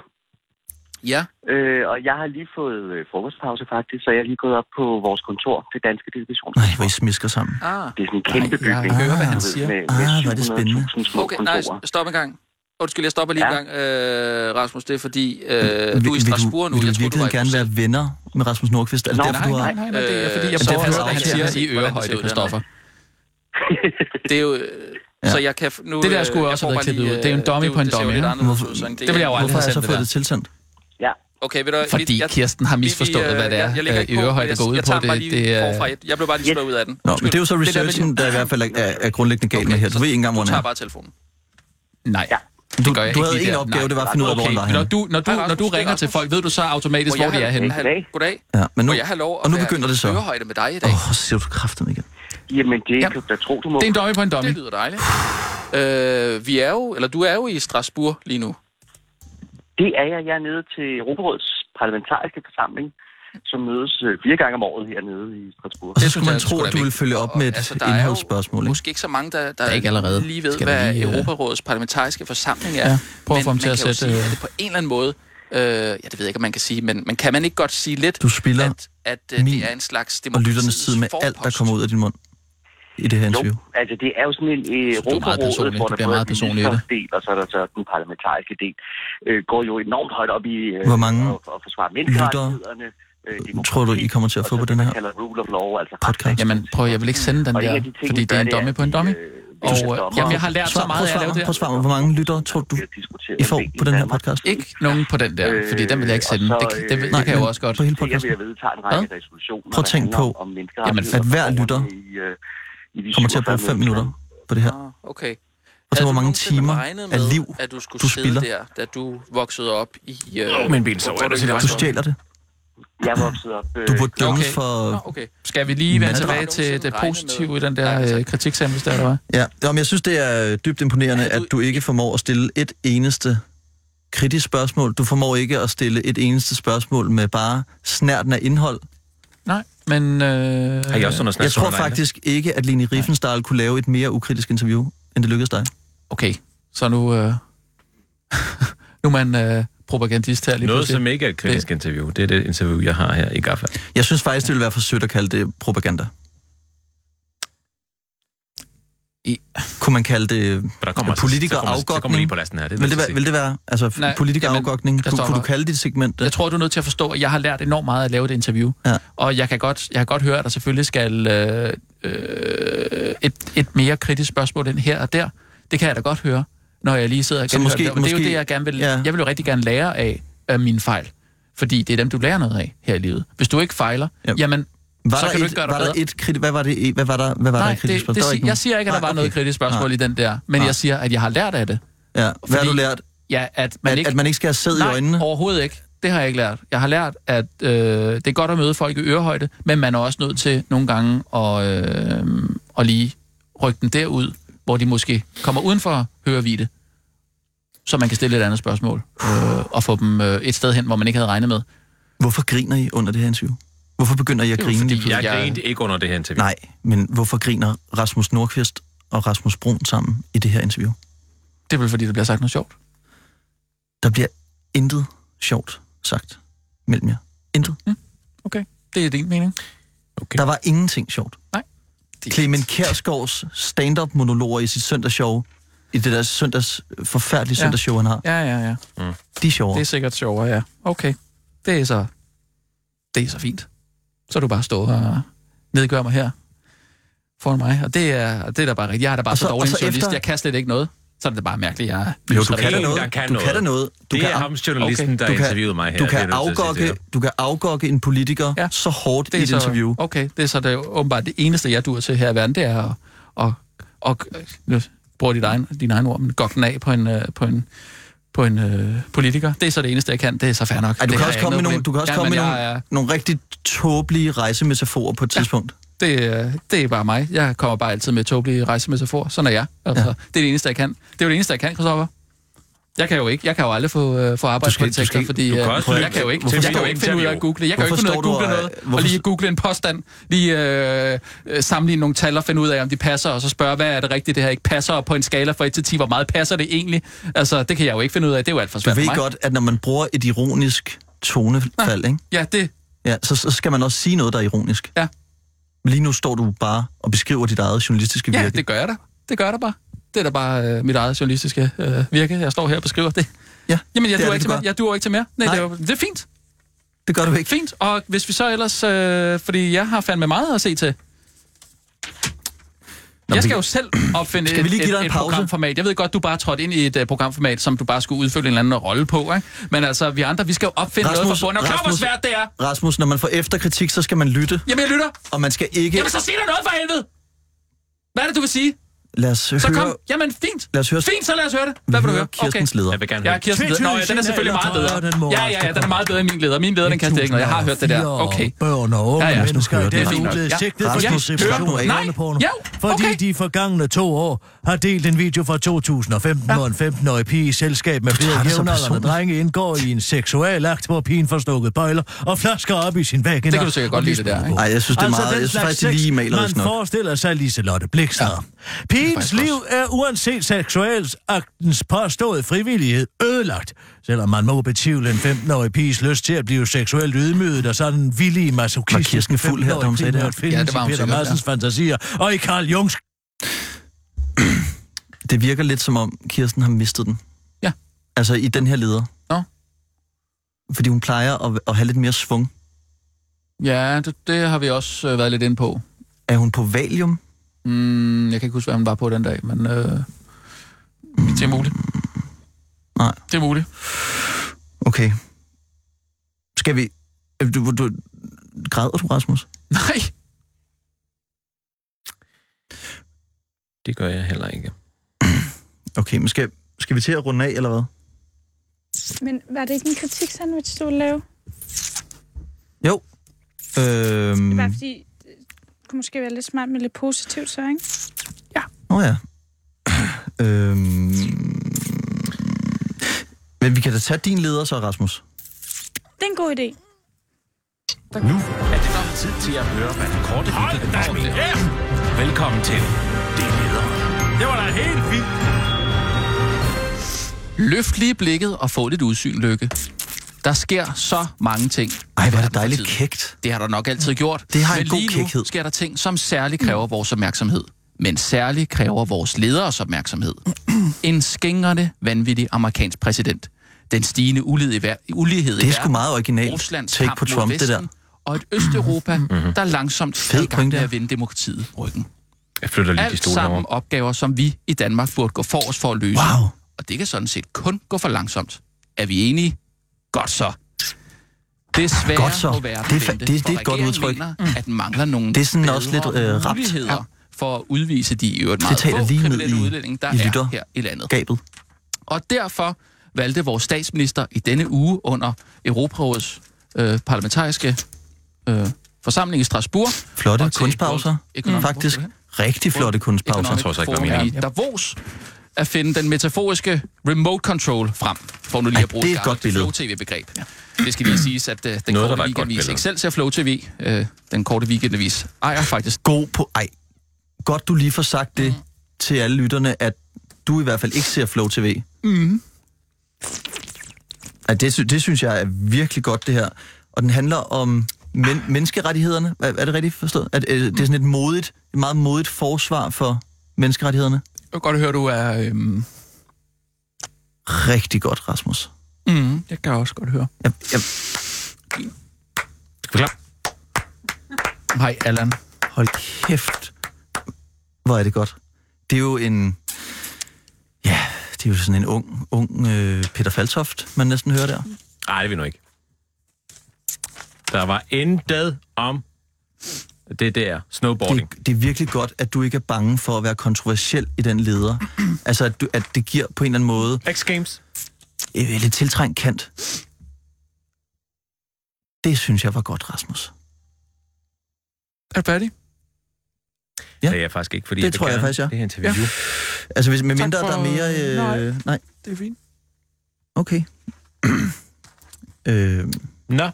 Ja. Øh, og jeg har lige fået øh, frokostpause faktisk, så jeg er lige gået op på vores kontor, det danske delegation. Nej, hvor I smisker sammen. Ah. Det er sådan en kæmpe Nej, jeg bygning. hører, hvad du han ved, siger. Med, Ah, med hvor er det spændende. 700.000 små Okay, nej, kontorer. stop en gang. Undskyld, jeg stopper lige Ja. ja. en gang, øh, Rasmus. Det er fordi, øh, du er Vil- i vil Strasbourg nu. Vil du jeg i tror, du var virkeligheden i gerne være Bruxelles. venner med Rasmus Nordqvist? Er det Nå, derfor, Nej, du har... nej, nej, nej, det er fordi, jeg Øh, prøver det er at høre, hvad han faktisk siger også- i hvordan det ørehøjde, ser ud Christoffer. Det er jo... øh, Ja. Så jeg kan... f- Nu, Det der øh, skulle jeg også får have været bare klippet lige, ud. Det er jo en øh, dummy det på en det ser jo dummy, lidt ikke? anderledes Hvorfor- ud, sådan. Det vil jeg jo Hvorfor aldrig har have jeg så sendt det fået der. det tilsendt? Ja, Okay, ved du, hvad, Fordi vi- jeg, Kirsten har vi- vi, misforstået, øh, hvad det jeg- er jeg lægger øh, ikke i på, ørehøjde jeg- går ud jeg på. tager den bare Det, lige det forfra. er... Jeg- Jeg blev bare lige slået ud af den. Nå, men Undskyld. det er jo så der med researchen, din- der i hvert fald er, er grundlæggende galt Okay, med her. Du ved ikke engang, hvor Du han tager er. bare telefonen. Nej, det gør jeg Du ikke havde lige en der. opgave, Nej. det var at finde ud af, hvor han var Når henne. du, når du, Hej, Rasmus. når du Det er ringer til Rasmus. folk, ved du så automatisk, hvor jeg de er have- henne. have- Goddag. Goddag. Ja, men nu, Må jeg have lov at og nu være begynder i det så. Ørehøjde med dig i dag. Åh, oh, ser du kraften igen. jamen det Ja. kan du da tro, du må. Det er en dummy på en dummy. Det lyder dejligt. Øh, vi er jo, eller du er jo i Strasbourg lige nu. Det er jeg. Jeg er nede til Europarådets parlamentariske forsamling, som mødes øh, fire gange om året hernede i Strasbourg. Og så synes skulle man jeg sgu tro, da at du ville følge op med Og, et altså, der er jo indholdsspørgsmål. ikke? Måske ikke så mange, der, der, er ikke allerede. lige ved, Skal vi hvad lige, øh, Europarådets parlamentariske forsamling er. Ja, prøv at men få ham man til at kan jo sætte... sige, øh, at det på en eller anden måde, øh, ja, det ved jeg ikke, om man kan sige, men, men kan man ikke godt sige lidt, Du spiller at, at øh, min det er en slags og demokratiets lytternes tid med alt, der kommer ud af din mund i det her Jo, interview. altså det er jo sådan en øh, Så du er meget Europarådet, personlig. hvor Du der bliver både meget er en personlig i det. ministersdel, og så er der så den parlamentariske del, øh, går jo enormt højt op i øh, Hvor mange Mm. at, at forsvare menneskerettighederne. Øh, demokrati, tror du, I kommer til at og få så på det, den man her kalder rule of law, altså podcast? Jamen, prøv, jeg vil ikke sende den Og en der, af de ting, fordi vi det er gør, en dummy på en at dummy. vi, øh, vi Og sætter øh, op- jamen, jeg har lært så Svar- prøv meget af at at lave svare mig. det Prøv her. at svare mig, hvor mange lyttere tror du, bliver diskuteret I får en del på i den her Danmark. podcast? Ikke nogen på den der, fordi den vil jeg ikke sende. Øh, Det, og så, det, det, øh, det kan jeg jo men også godt. På hele Det, jeg podcasten. vil ved, tager en række resolutioner, Prøv at der tænk handler på, om menneskerettigheder at hver og lytter borgerne i, øh, i de Kommer til at bruge 47 fem minutter på det her. Ah, okay. Og så Havde hvor du mange nogensinde timer regnet af med, liv at du skulle du sidde spiller? der, da du voksede op i... Øh, Åh, men ben, så hvorfor er det du til ikke det var Du så- stjæler det. Jeg voksede op... Øh, Du burde dømmes okay. for... Nå, okay. Skal vi lige vende Mandag. tilbage til det positive i den der øh, kritiksamling, der var? Ja, jamen, jeg synes, det er øh, dybt imponerende, Ja, at du- du ikke formår at stille et eneste kritisk spørgsmål. Du formår ikke at stille et eneste spørgsmål med bare snærten af indhold. Nej, men... Øh, Har I også sådan noget snak? Jeg tror som Arne? faktisk ikke, at Lene Riefenstahl kunne lave et mere ukritisk interview, end det lykkedes dig. Okay, så nu... Øh, [laughs] nu er man øh, propagandist her lige Noget, pludselig. som ikke er et kritisk interview, det er det interview, jeg har her i Gaffa. Jeg synes faktisk, det ville være for sødt at kalde det propaganda. I- kunne man kalde det der kommer- altså- så kommer- så kommer lige politikerafgokning? på lasten her, det er vil, lidt det at være, se. vil det være altså, Nej, politikerafgokning? der Kunne, står kunne du her. kalde dit segment det? Jeg tror, du er nødt til at forstå, at jeg har lært enormt meget at lave det interview. Ja. Og jeg kan godt, jeg kan godt høre, at der selvfølgelig skal øh, øh, et, et mere kritisk spørgsmål end her og der. Det kan jeg da godt høre, når jeg lige sidder og Så genhører måske- det. Og det er jo måske- det, jeg gerne vil. ja. Jeg vil jo rigtig gerne lære af, af mine fejl. Fordi det er dem, du lærer noget af her i livet. Hvis du ikke fejler, Ja. jamen, Var så der kan et, du ikke gøre dig var der bedre. et kriti- hvad var det, hvad var der, hvad var der Nej, et kritisk det, spørgsmål? det, Der var sig- ikke nogen. jeg siger ikke, at der Nej, var noget okay. kritisk spørgsmål Nej. i den der, men Nej. jeg siger, at jeg har lært af det. Ja. Hvad har du lært? Ja, at man At, ikke... at man ikke skal have sæd i Nej, øjnene? overhovedet ikke. Det har jeg ikke lært. Jeg har lært, at øh, det er godt at møde folk i ørehøjde, men man er også nødt til nogle gange at, øh, at lige rykke den derud, hvor de måske kommer uden for hørevidde, så man kan stille et andet spørgsmål øh, og få dem øh, et sted hen, hvor man ikke havde regnet med. Hvorfor griner I under det her interview? Hvorfor begynder I at Det er jo grine? fordi, lige pludselig? Jeg grinte ikke under det her interview. Nej, men hvorfor griner Rasmus Nordqvist og Rasmus Brun sammen i det her interview? Det er vel fordi, der bliver sagt noget sjovt. Der bliver intet sjovt sagt mellem jer. Intet. Okay, det er din mening. Okay. Der var ingenting sjovt. Nej. Det er Clemen Kærsgaards stand-up monologer i sit søndagsshow, i det der søndags, forfærdelige Ja. søndagsshow, han har, Ja, ja, ja. de er sjovere. Det er sikkert sjovere, ja. Okay. Det er så, det er så fint. Så er du bare stå og nedgør mig her foran mig. Og det er, og det er da bare rigtigt. Jeg er da bare Og så, så- så og dårlig så en journalist. efter- Jeg kan slet ikke noget. Så er det bare mærkeligt, jeg er Jo, du kan der da noget. kan du kan da noget. noget. Du Det kan er af- ham, journalisten, der interviewede mig her. Du Det er jeg kan, nødt til at sige afgokke, du kan afgokke en politiker Ja. ja. så hårdt i det er et så, interview. Okay, det er så det, åbenbart det eneste, jeg dur til her i verden, det er at, og, og, nu bruger dit egen, din egen ord, men gokke den af på en, øh, på en, på en øh, politiker. Det er så det eneste, jeg kan. Det er så fair nok. Ej, du, Det kan har også jeg komme med ikke noget nogle, problem. du kan også komme med Jamen, nogle, jeg er- nogle rigtig tåbelige rejsemetaforer på et tidspunkt. Det, øh, det er bare mig. Jeg kommer bare altid med tåbelige rejsemetafor. Sådan er jeg. Altså, ja. Det er det eneste, jeg kan. Det er jo det eneste, jeg kan, Christoffer. Jeg kan jo ikke. Jeg kan jo aldrig få, øh, få du arbejdskontekster, skal- fordi du kan øh, også jeg lytte kan jo ikke, til jeg mit kan jo ikke finde ud af at interview. google. Jeg kan jo ikke Hvorfor finde ud af at står google du og- noget, og hvorfor- lige google en påstand, lige øh, øh, sammenligne nogle tal og finde ud af, om de passer, og så spørge, hvad er det rigtigt, det her ikke passer, og på en skala fra 1 til 10, hvor meget passer det egentlig? Altså, det kan jeg jo ikke finde ud af. Det er jo alt for Du svært for ved mig. godt, at når man bruger et ironisk tonefald, ikke? Ja, det, Ja, så, så skal man også sige noget, der er ironisk. Ja. Lige nu står du bare og beskriver dit eget journalistiske virke. Ja, det gør jeg da. Det gør jeg da bare. Det er da bare øh, mit eget journalistiske øh, virke. Jeg står her og beskriver det. Ja, Jamen, jeg det er duer det, ikke, til du mere. gør. jeg duer ikke til mere. Nej, Nej. Det, er jo, det er fint. det gør du ikke. Fint. Og hvis vi så ellers... Øh, fordi jeg har fandme meget at se til. Nå, jeg skal vi- jo selv opfinde Skal vi lige give et, dig et, en et pause? programformat. Jeg ved godt, du bare trådte ind i et uh, programformat, som du bare skulle udfylde en eller anden rolle på. Ikke? Men altså, vi andre, vi skal jo opfinde noget Rasmus, for bunden. Og klar, hvor Rasmus. svært det er. Rasmus, når man får efterkritik, så skal man lytte, Jamen, jeg lytter. og man skal ikke... Jamen, så sig der noget for helvede. Hvad er det, du vil sige? Lad os Så høre... kom. Jamen, fint. Lad os høre... Fint, så lad os høre det. Hvad vil du høre? Kirstens leder. Jeg vil gerne Ja, høre det. Kirsten leder. Nå, ja, den er selvfølgelig meget bedre. Ja, ja, ja, den er meget bedre end min leder. Min leder, den kan slet ikke noget. Jeg har hørt det der. Okay. Børn og unge Ja, ja, ja. ja. mennesker Det i er denne fint uge nok. blevet Ja. sigtet Ja. for Ja. distribution Hør af nu. børneporno, Nej. Jo, fordi okay. de forgangne to år har delt en video fra 2015, hvor en 15-årig pige i selskab med tager flere det så jævnaldrende personligt. drenge indgår i en seksualakt, hvor pigen får stukket bøjler og flasker op i sin vagina. Det kan du sikkert godt og lide, det der, misbruger. ikke? Ej, jeg synes, det er meget... Altså, den jeg synes slags faktisk, det lige sex, maler Man os nok. forestiller sig Liselotte Blikstad. Ja. Pigens liv er uanset seksualaktens påståede frivillighed ødelagt, selvom man må betvivle en 15-årig piges lyst til at blive seksuelt ydmyget og sådan en villig Var Kirsten masochistisk fuld her, da hun sagde det her? Ja, det var hun Peter sikkert, Madsens fantasier og i Karl Jungs Det virker lidt som om, Kirsten har mistet den. Ja. Altså i den her leder. Nå. Fordi hun plejer at, at have lidt mere svung. Ja, det, det har vi også øh, været lidt inde på. Er hun på valium? Mm, jeg kan ikke huske, hvad han var på den dag, men øh, det er muligt. Nej. Det er muligt. Okay. Skal vi... Øh, Du, du, græder du, Rasmus? Nej. Det gør jeg heller ikke. Okay, men skal, skal vi til at runde af, eller hvad? Men var det ikke en kritik sandwich, du ville lave? Jo. Øhm... Det var fordi, det kunne måske være lidt smart med lidt positivt så, ikke? Nå oh, ja. øhm... Men vi kan da tage din leder så, Rasmus. Det er en god idé. Nu er det blevet tid til at høre, hvad den korte Hold da min Velkommen til Det Leder. Det var da helt fint. Løft lige blikket og få lidt udsyn, Lykke. Der sker så mange ting. Ej, i hvor er verden det for dejligt tiden. kægt. Det har der nok altid gjort. Mm. Det har en Men god lige nu kækhed. Mm. sker der ting, som særligt kræver vores opmærksomhed. men særligt kræver vores lederes opmærksomhed. Mm. en skængrende, vanvittig amerikansk præsident. Den stigende ulighed i, ver- ulighed Det er i sgu meget originalt Ruslands take kamp på mod Trump, det Vesten, der. Og et Østeuropa, mm-hmm. der langsomt Fed er i gang pointe, med ja. at vinde demokratiet ryggen. Jeg flytter lige de Alt stoler sammen over. opgaver, som vi i Danmark burde gå forrest for at løse. Wow. Og det kan sådan set kun gå for langsomt. Er vi enige? Godt så. Desværre Godt så. må være Det er fa- vente, det- det er for et godt regeringen udtryk. Mm. Mener, at den mangler nogle Det er sådan også bedre lidt, øh, rapt. muligheder Ja. for at udvise de i øvrigt Det meget taler få lige ned kriminelle i- udlændinge, der i lytter- er her i landet. Gabet. Og derfor valgte vores statsminister i denne uge under Europarådets øh, parlamentariske øh, forsamling i Strasbourg. Flotte og til kunstpauser. Mm. World Economic- Faktisk rigtig flotte kunstpauser. Economic Forum i Davos at finde den metaforiske remote control frem, for nu lige Ej, at bruge det er et gammelt godt billede. flow-tv-begreb. Det skal lige siges, at uh, den Noget, der var korte et godt weekendavis billede. ikke selv ser flow-tv. Uh, den korte weekendavis ejer faktisk... God på... Ej, godt du lige får sagt det til alle lytterne, at du i hvert fald ikke ser Flow TV. Mm. At det, sy- det synes jeg er virkelig godt, det her. Og den handler om men, menneskerettighederne. Er, er det rigtigt forstået? At, øh, det er sådan et modigt, et meget modigt forsvar for menneskerettighederne. Jeg kan godt høre, du er... Øhm... Rigtig godt, Rasmus. Mm, det kan jeg også godt høre. Jeg, jeg, Skal vi klar? Hej, Allan. hold kæft. Hvor er det godt. Det er jo en... Ja, det er jo sådan en ung, ung øh, Peter Faltoft, man næsten hører der. Nej, det vil jeg nu ikke. Der var intet om det der snowboarding. det, det er virkelig godt, at du ikke er bange for at være kontroversiel i den leder. [clears throat] Altså, at, du, at det giver på en eller anden måde X Games. øh, lidt tiltrængt kant. Det synes jeg var godt, Rasmus. Er du færdig? Ja. Ja. Det er jeg faktisk ikke, fordi Det jeg vil tror jeg gerne faktisk, ja. Det her interview. Altså, hvis, med Tak mindre for- der er mere... Øh, nej. nej. Det er fint. Okay. [clears throat] øh, Nå,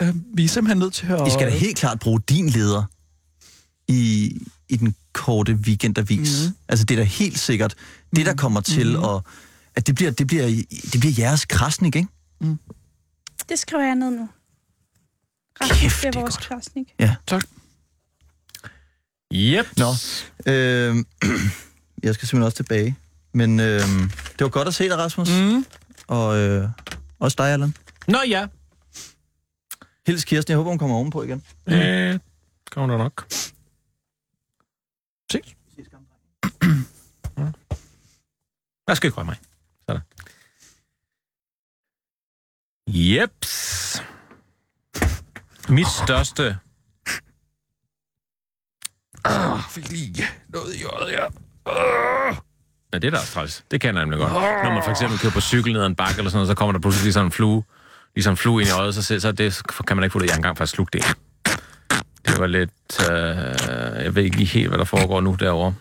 Uh, vi er simpelthen nødt til at... I skal da helt klart bruge din leder i, i den korte weekendavis. Mhm. Mm. Altså, det er da helt sikkert det, der kommer til mm. at... At det bliver, det, bliver, det bliver jeres krasnik, ikke? Det skriver jeg ned nu. Kæft, det det er er vores godt. krasnik. yep. Nå, øh, [clears throat] jeg skal simpelthen også tilbage. Men øh, det var godt at se dig, Rasmus. Mm. Og øh, også dig, Allan. Nå ja. Hils Kirsten, jeg håber, hun kommer ovenpå igen. Øh, kommer der nok. Se. [clears throat] Hvad skal jeg røre mig? Sådan. Jeps. Mit største... Ah, fik lige noget i øjet, ja. Ah. Ja, det er da også træls. Det kender jeg nemlig godt. Når man for eksempel kører på cykel ned ad en bakke eller sådan noget, så kommer der pludselig lige sådan en flue, lige sådan en flue ind i øjet, så, se- så, er det, så kan man ikke få det. Jeg har engang faktisk slugt det. Det var lidt... Øh, jeg ved ikke lige helt, hvad der foregår nu derovre.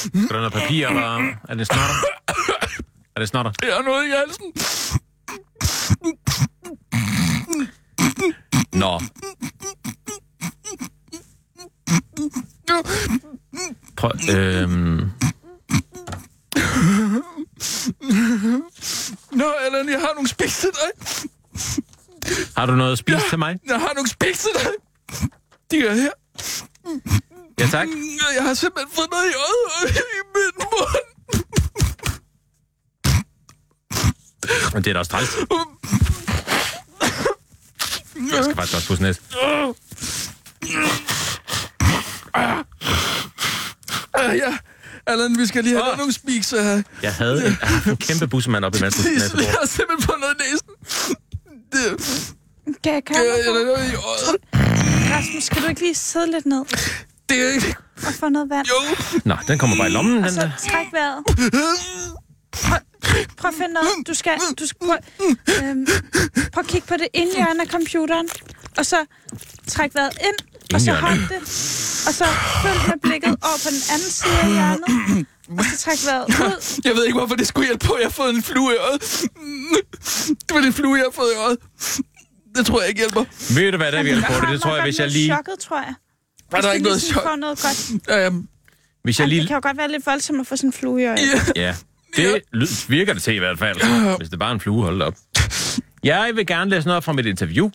Skal der noget papir, eller er det snotter? Er det snotter? Jeg har noget i halsen. Nå. Prøv, øhm, Nå, Allan, jeg har nogle spids til dig. har du noget at spise til mig? Jeg har nogle spids til dig. De er her. Ja, tak. Jeg har simpelthen fået noget i øjet og i min mund. Men det er da også [laughs] træls. Jeg skal faktisk også pusse næst. Ah, ja. Allan, vi skal lige have oh. nogle spiks. Uh, jeg Jeg havde en, jeg har haft en kæmpe bussemand op i [laughs] venstre næste bord. har simpelthen fået noget i næsen. Det, Kan jeg komme? jeg, jeg, jeg, jeg, jeg, Rasmus, skal du ikke lige sidde lidt ned det er ikke... og få noget vand? Jo. Nå, den kommer bare i lommen, Og den så der. træk vejret. Prøv, prøv at finde noget. Du skal... Du skal prøv, øhm, prøv at kigge på det inde hjørne af computeren. Og så træk vejret ind. Og så Indhjørne. hold det. Og så følg med blikket over på den anden side af hjørnet. Og så træk vejret ud. Jeg ved ikke, hvorfor det skulle hjælpe på. Jeg har fået en flue i øjet. Det var den flue, jeg har fået i øjet. Det tror jeg ikke hjælper. Ved du hvad, det er vi har på det? Det tror jeg, hvis jeg lige... Chokket, tror jeg. Var der Hvis ikke det noget ligesom chok? får noget godt. Øhm, Hvis jeg Ej, Det lige... kan jo godt være lidt voldsomt at få sådan en flue i øjet. Ja, det lyd, virker det til i hvert fald. Hvis det er bare en flue, hold da op. Jeg vil gerne læse noget op fra mit interview.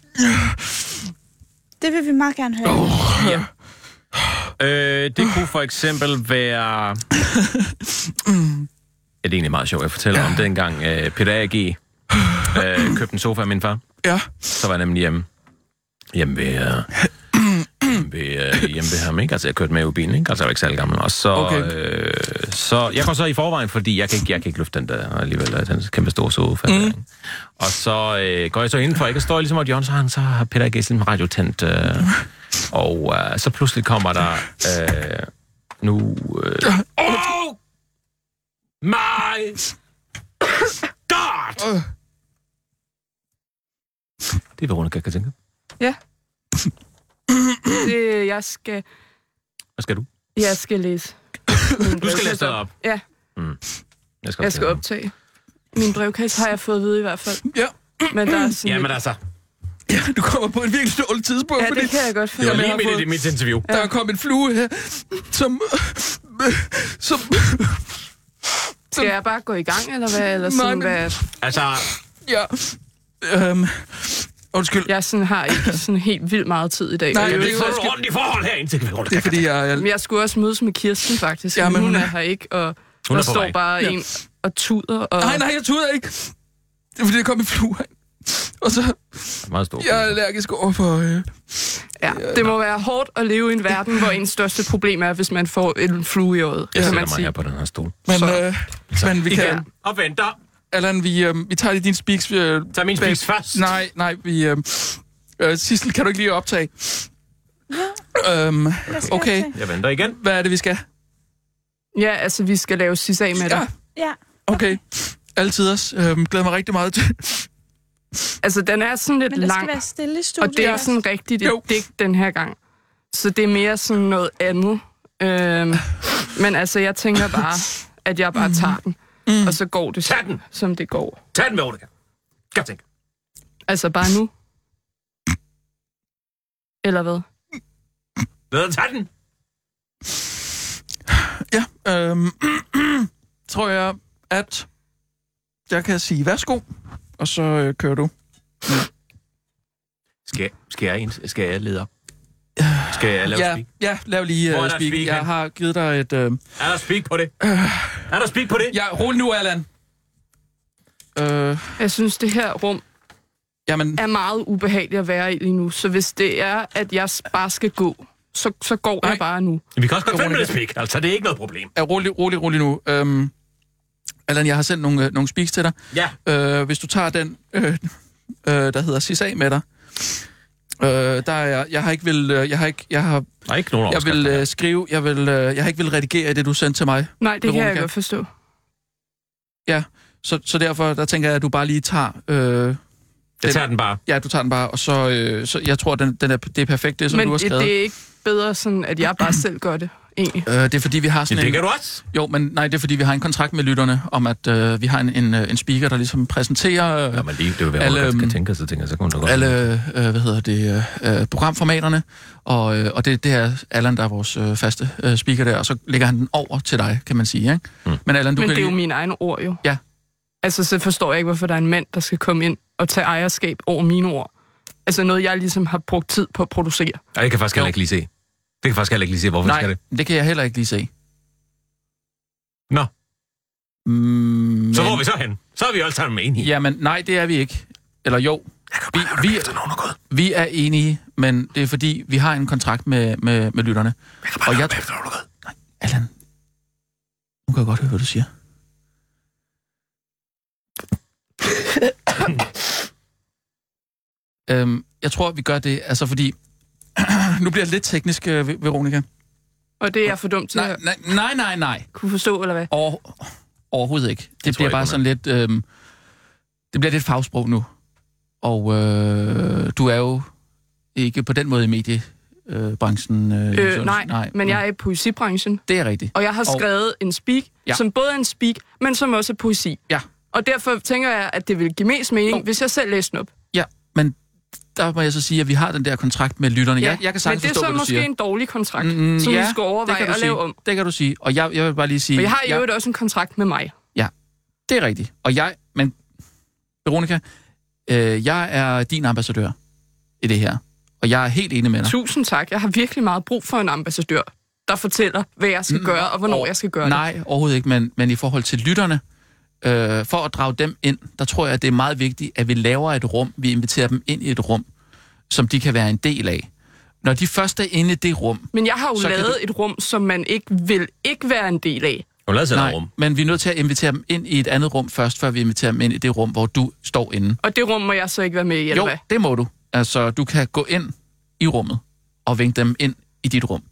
Det vil vi meget gerne høre. Oh. Ja. Øh, det kunne for [laughs] eksempel være... Ja, det er egentlig meget sjovt, jeg fortæller ja. om dengang øh, Peter A.G. Øh, købte en sofa af min far. Ja. Så var jeg nemlig hjemme. Hjemme ved... Øh, [clears throat] hjemme ved, øh, hjemme ved ham, ikke? Altså, jeg kørte med i bilen, ikke? Altså, jeg var ikke særlig gammel. Og så... Okay. Øh, så jeg går så i forvejen, fordi jeg kan ikke, jeg kan ikke løfte den der alligevel, øh, den kæmpe store sofa. Mm. Og så øh, går jeg så indenfor, ikke? Og står jeg ligesom, og Jørgen, så har, han, så har Peter A.G. sådan en radio tændt. Øh, og øh, så pludselig kommer der... Øh, nu... Øh, oh! My Øh. God! Det er Veronica Katinka. Ja. Det, jeg skal... Hvad skal du? Jeg skal læse. Du skal læse noget op. Ja, Mm. Jeg jeg skal optage. Min brevkasse har jeg fået at vide i hvert fald. Ja. Men der er sådan... Jamen altså, Ja, du kommer på et virkelig dårligt tidspunkt. Ja, det fordi kan jeg godt det var finde. lige midt i det mit interview. Der er kommet en flue her, som... som Skal jeg bare gå i gang, eller hvad? Eller sådan, Nej, men- hvad? Altså, ja... Øhm, undskyld. Jeg sådan har ikke sådan helt vildt meget tid i dag. Nej, Jeg det ved er ikke, jo hvad jeg også- skal- rundt i forhold her indtil Det er fordi, jeg... Men jeg jeg skulle også mødes med Kirsten, faktisk. Ja, Ja, men men hun, hun er- er her ikke, og Hun hun er der på står vej. bare Ja. ja. en og tuder. Og... nej, nej, jeg troede ikke. Det er fordi, der kom en flue herind. Og så... Meget stor. Jeg er allergisk over for... Øh, Ja, det må være hårdt at leve i en verden, hvor ens største problem er, hvis man får en flue i øjet. Altså, Jeg kan sætter man mig her på den her stol. men, øh, men vi kan... Ja. Og venter. Allan, vi, øh, vi tager lige din speaks. Vi, øh, Tag min speaks først. Nej, nej, vi... Øh, øh, Sissel, kan du ikke lige optage? Øhm, okay, Jeg venter igen. hvad er det, vi skal? Ja, altså, vi skal lave sidst af med dig. Ja, Ja. Ja. okay. Altid os. Øhm, glæder mig rigtig meget til. Altså, den er sådan lidt Men der lang, skal være stille i studiet. og det er sådan rigtigt et Jo. digt den her gang. Så det er mere sådan noget andet. Øhm, men altså, jeg tænker bare, at jeg bare tager den, mm. og så går det, Tag den! som det går. Tag den, Veronica. Godt tænkt. Altså, bare nu. Eller hvad? Lad os tage den. Ja, øhm, [clears throat] tror jeg, at jeg kan sige værsgo, og så øh, kører du. Skal, skal, jeg, ind- skal jeg lede op? Skal jeg lave ja, speak? ja, lav lige Hvor uh, er der speak. speak Jeg hen? har givet dig et... Øh, Er der speak på det? Er der speak på det? ja, rolig nu, Allan. Øh, Jeg synes, det her rum jamen, er meget ubehageligt at være i lige nu, så hvis det er, at jeg s- bare skal gå, så, så går Nej. jeg bare nu. Vi kan også godt finde Veronica. det speak. Altså, det er ikke noget problem. er øh, rolig, rolig, rolig nu. Øhm, Allan, jeg har sendt nogle, øh, nogle speaks til dig. Ja. Øh, hvis du tager den, øh, øh, der hedder Sis af med dig. Øh, der er jeg, jeg har ikke vil, øh, jeg har ikke, jeg har, Der er ikke nogen jeg vil øh, skrive, jeg vil, øh, jeg har ikke vil redigere i det du sendte til mig. Nej, det kan jeg Veronica. godt forstå. Så, så derfor, der tænker jeg, at du bare lige tager, øh, Jeg tager den bare. ja, du tager den bare, og så, øh, så jeg tror, den, den er, det er perfekt, det som Men du har det, skrevet. det er ikke bedre sådan, at jeg bare selv gør det, egentlig. Øh, det er fordi, vi har sådan Det en... kan du også. Jo, men nej, det er fordi, vi har en kontrakt med lytterne om, at øh, vi har en, en, øh, en speaker, der ligesom præsenterer... Øh, Ja, men lige, det vil være, Alle, alle, man øhm, kan tænke, så tænker jeg, så kunne det godt. alle øh, hvad hedder det, øh, øh, programformaterne, og, øh, og det, det er Allan, der er vores øh, faste øh, speaker der, og så lægger han den over til dig, kan man sige. Ikke? Mm. Men Allan, du Men kan det er jo lige- mine egne ord, jo. Ja. Altså, så forstår jeg ikke, hvorfor der er en mand, der skal komme ind og tage ejerskab over mine ord. Altså noget, jeg ligesom har brugt tid på at producere. Ej, det kan jeg faktisk heller ikke lige se. Det kan jeg faktisk heller ikke lige se, hvorfor Nej. skal Nej, det. det kan jeg heller ikke lige se. Nå, Mm, men, så hvor er vi så hen? Så er vi alle sammen enige. Jamen, nej, det er vi ikke. Eller jo, Jeg kan vi, bare høre vi, det efter nogen er gået. vi er enige, men det er fordi, vi har en kontrakt med, med, med lytterne. Jeg kan bare Og høre jeg- det efter nogen er gået. Allan, nu kan jeg godt høre, hvad du [coughs] siger. øhm, jeg tror, vi gør det, altså fordi... [coughs] nu bliver det lidt teknisk, øh, Ve- Veronica. Og det er jeg for dum til Nej, at nej, nej, nej, nej. kunne forstå, eller hvad? Over, overhovedet ikke. Det tror bliver ikke, bare hun sådan lidt... Øhm, det bliver lidt fagsprog nu. Og øh, du er jo ikke på den måde i mediebranchen. Øh, Øh, Sørensen. nej, nej, men jeg er i poesibranchen. Det er rigtigt. Og jeg har Mm. Og- skrevet og... en speak, Ja. ja. som både er en speak, men som også er poesi. Ja. Og derfor tænker jeg, at det vil give mest mening, Jo. hvis jeg selv læste den op. Ja, men der må jeg så sige, at vi har den der kontrakt med lytterne. Ja, jeg, jeg kan men sagtens det er forstå, så hvad du måske siger. en dårlig kontrakt, mm, som vi skal det kan overveje du at sige. lave om. Det kan du sige. Og jeg, jeg vil bare lige sige... Men jeg har i jeg, øvrigt også en kontrakt med mig. Det er rigtigt. Og jeg... Men, Veronica, øh, jeg er din ambassadør i det her, og jeg er helt enig med dig. Tusind tak. Jeg har virkelig meget brug for en ambassadør, der fortæller, hvad jeg Mm. skal gøre, og hvornår jeg skal gøre det. Nej, overhovedet ikke, men, men i forhold til lytterne, øh, for at drage dem ind, der tror jeg, at det er meget vigtigt, at vi laver et rum, vi inviterer dem ind i et rum, som de kan være en del af. Når de først er inde i det rum... Men jeg har jo så kan lavet du- du... et rum, som man ikke vil ikke være en del af. Hun lavede Nej, rum. men vi er nødt til at invitere dem ind i et andet rum først, før vi inviterer dem ind i det rum, hvor du står inde. Og det rum må jeg så ikke være med i, eller Jo, hvad? det må du. Altså, du kan gå ind i rummet og vinke dem ind i dit rum.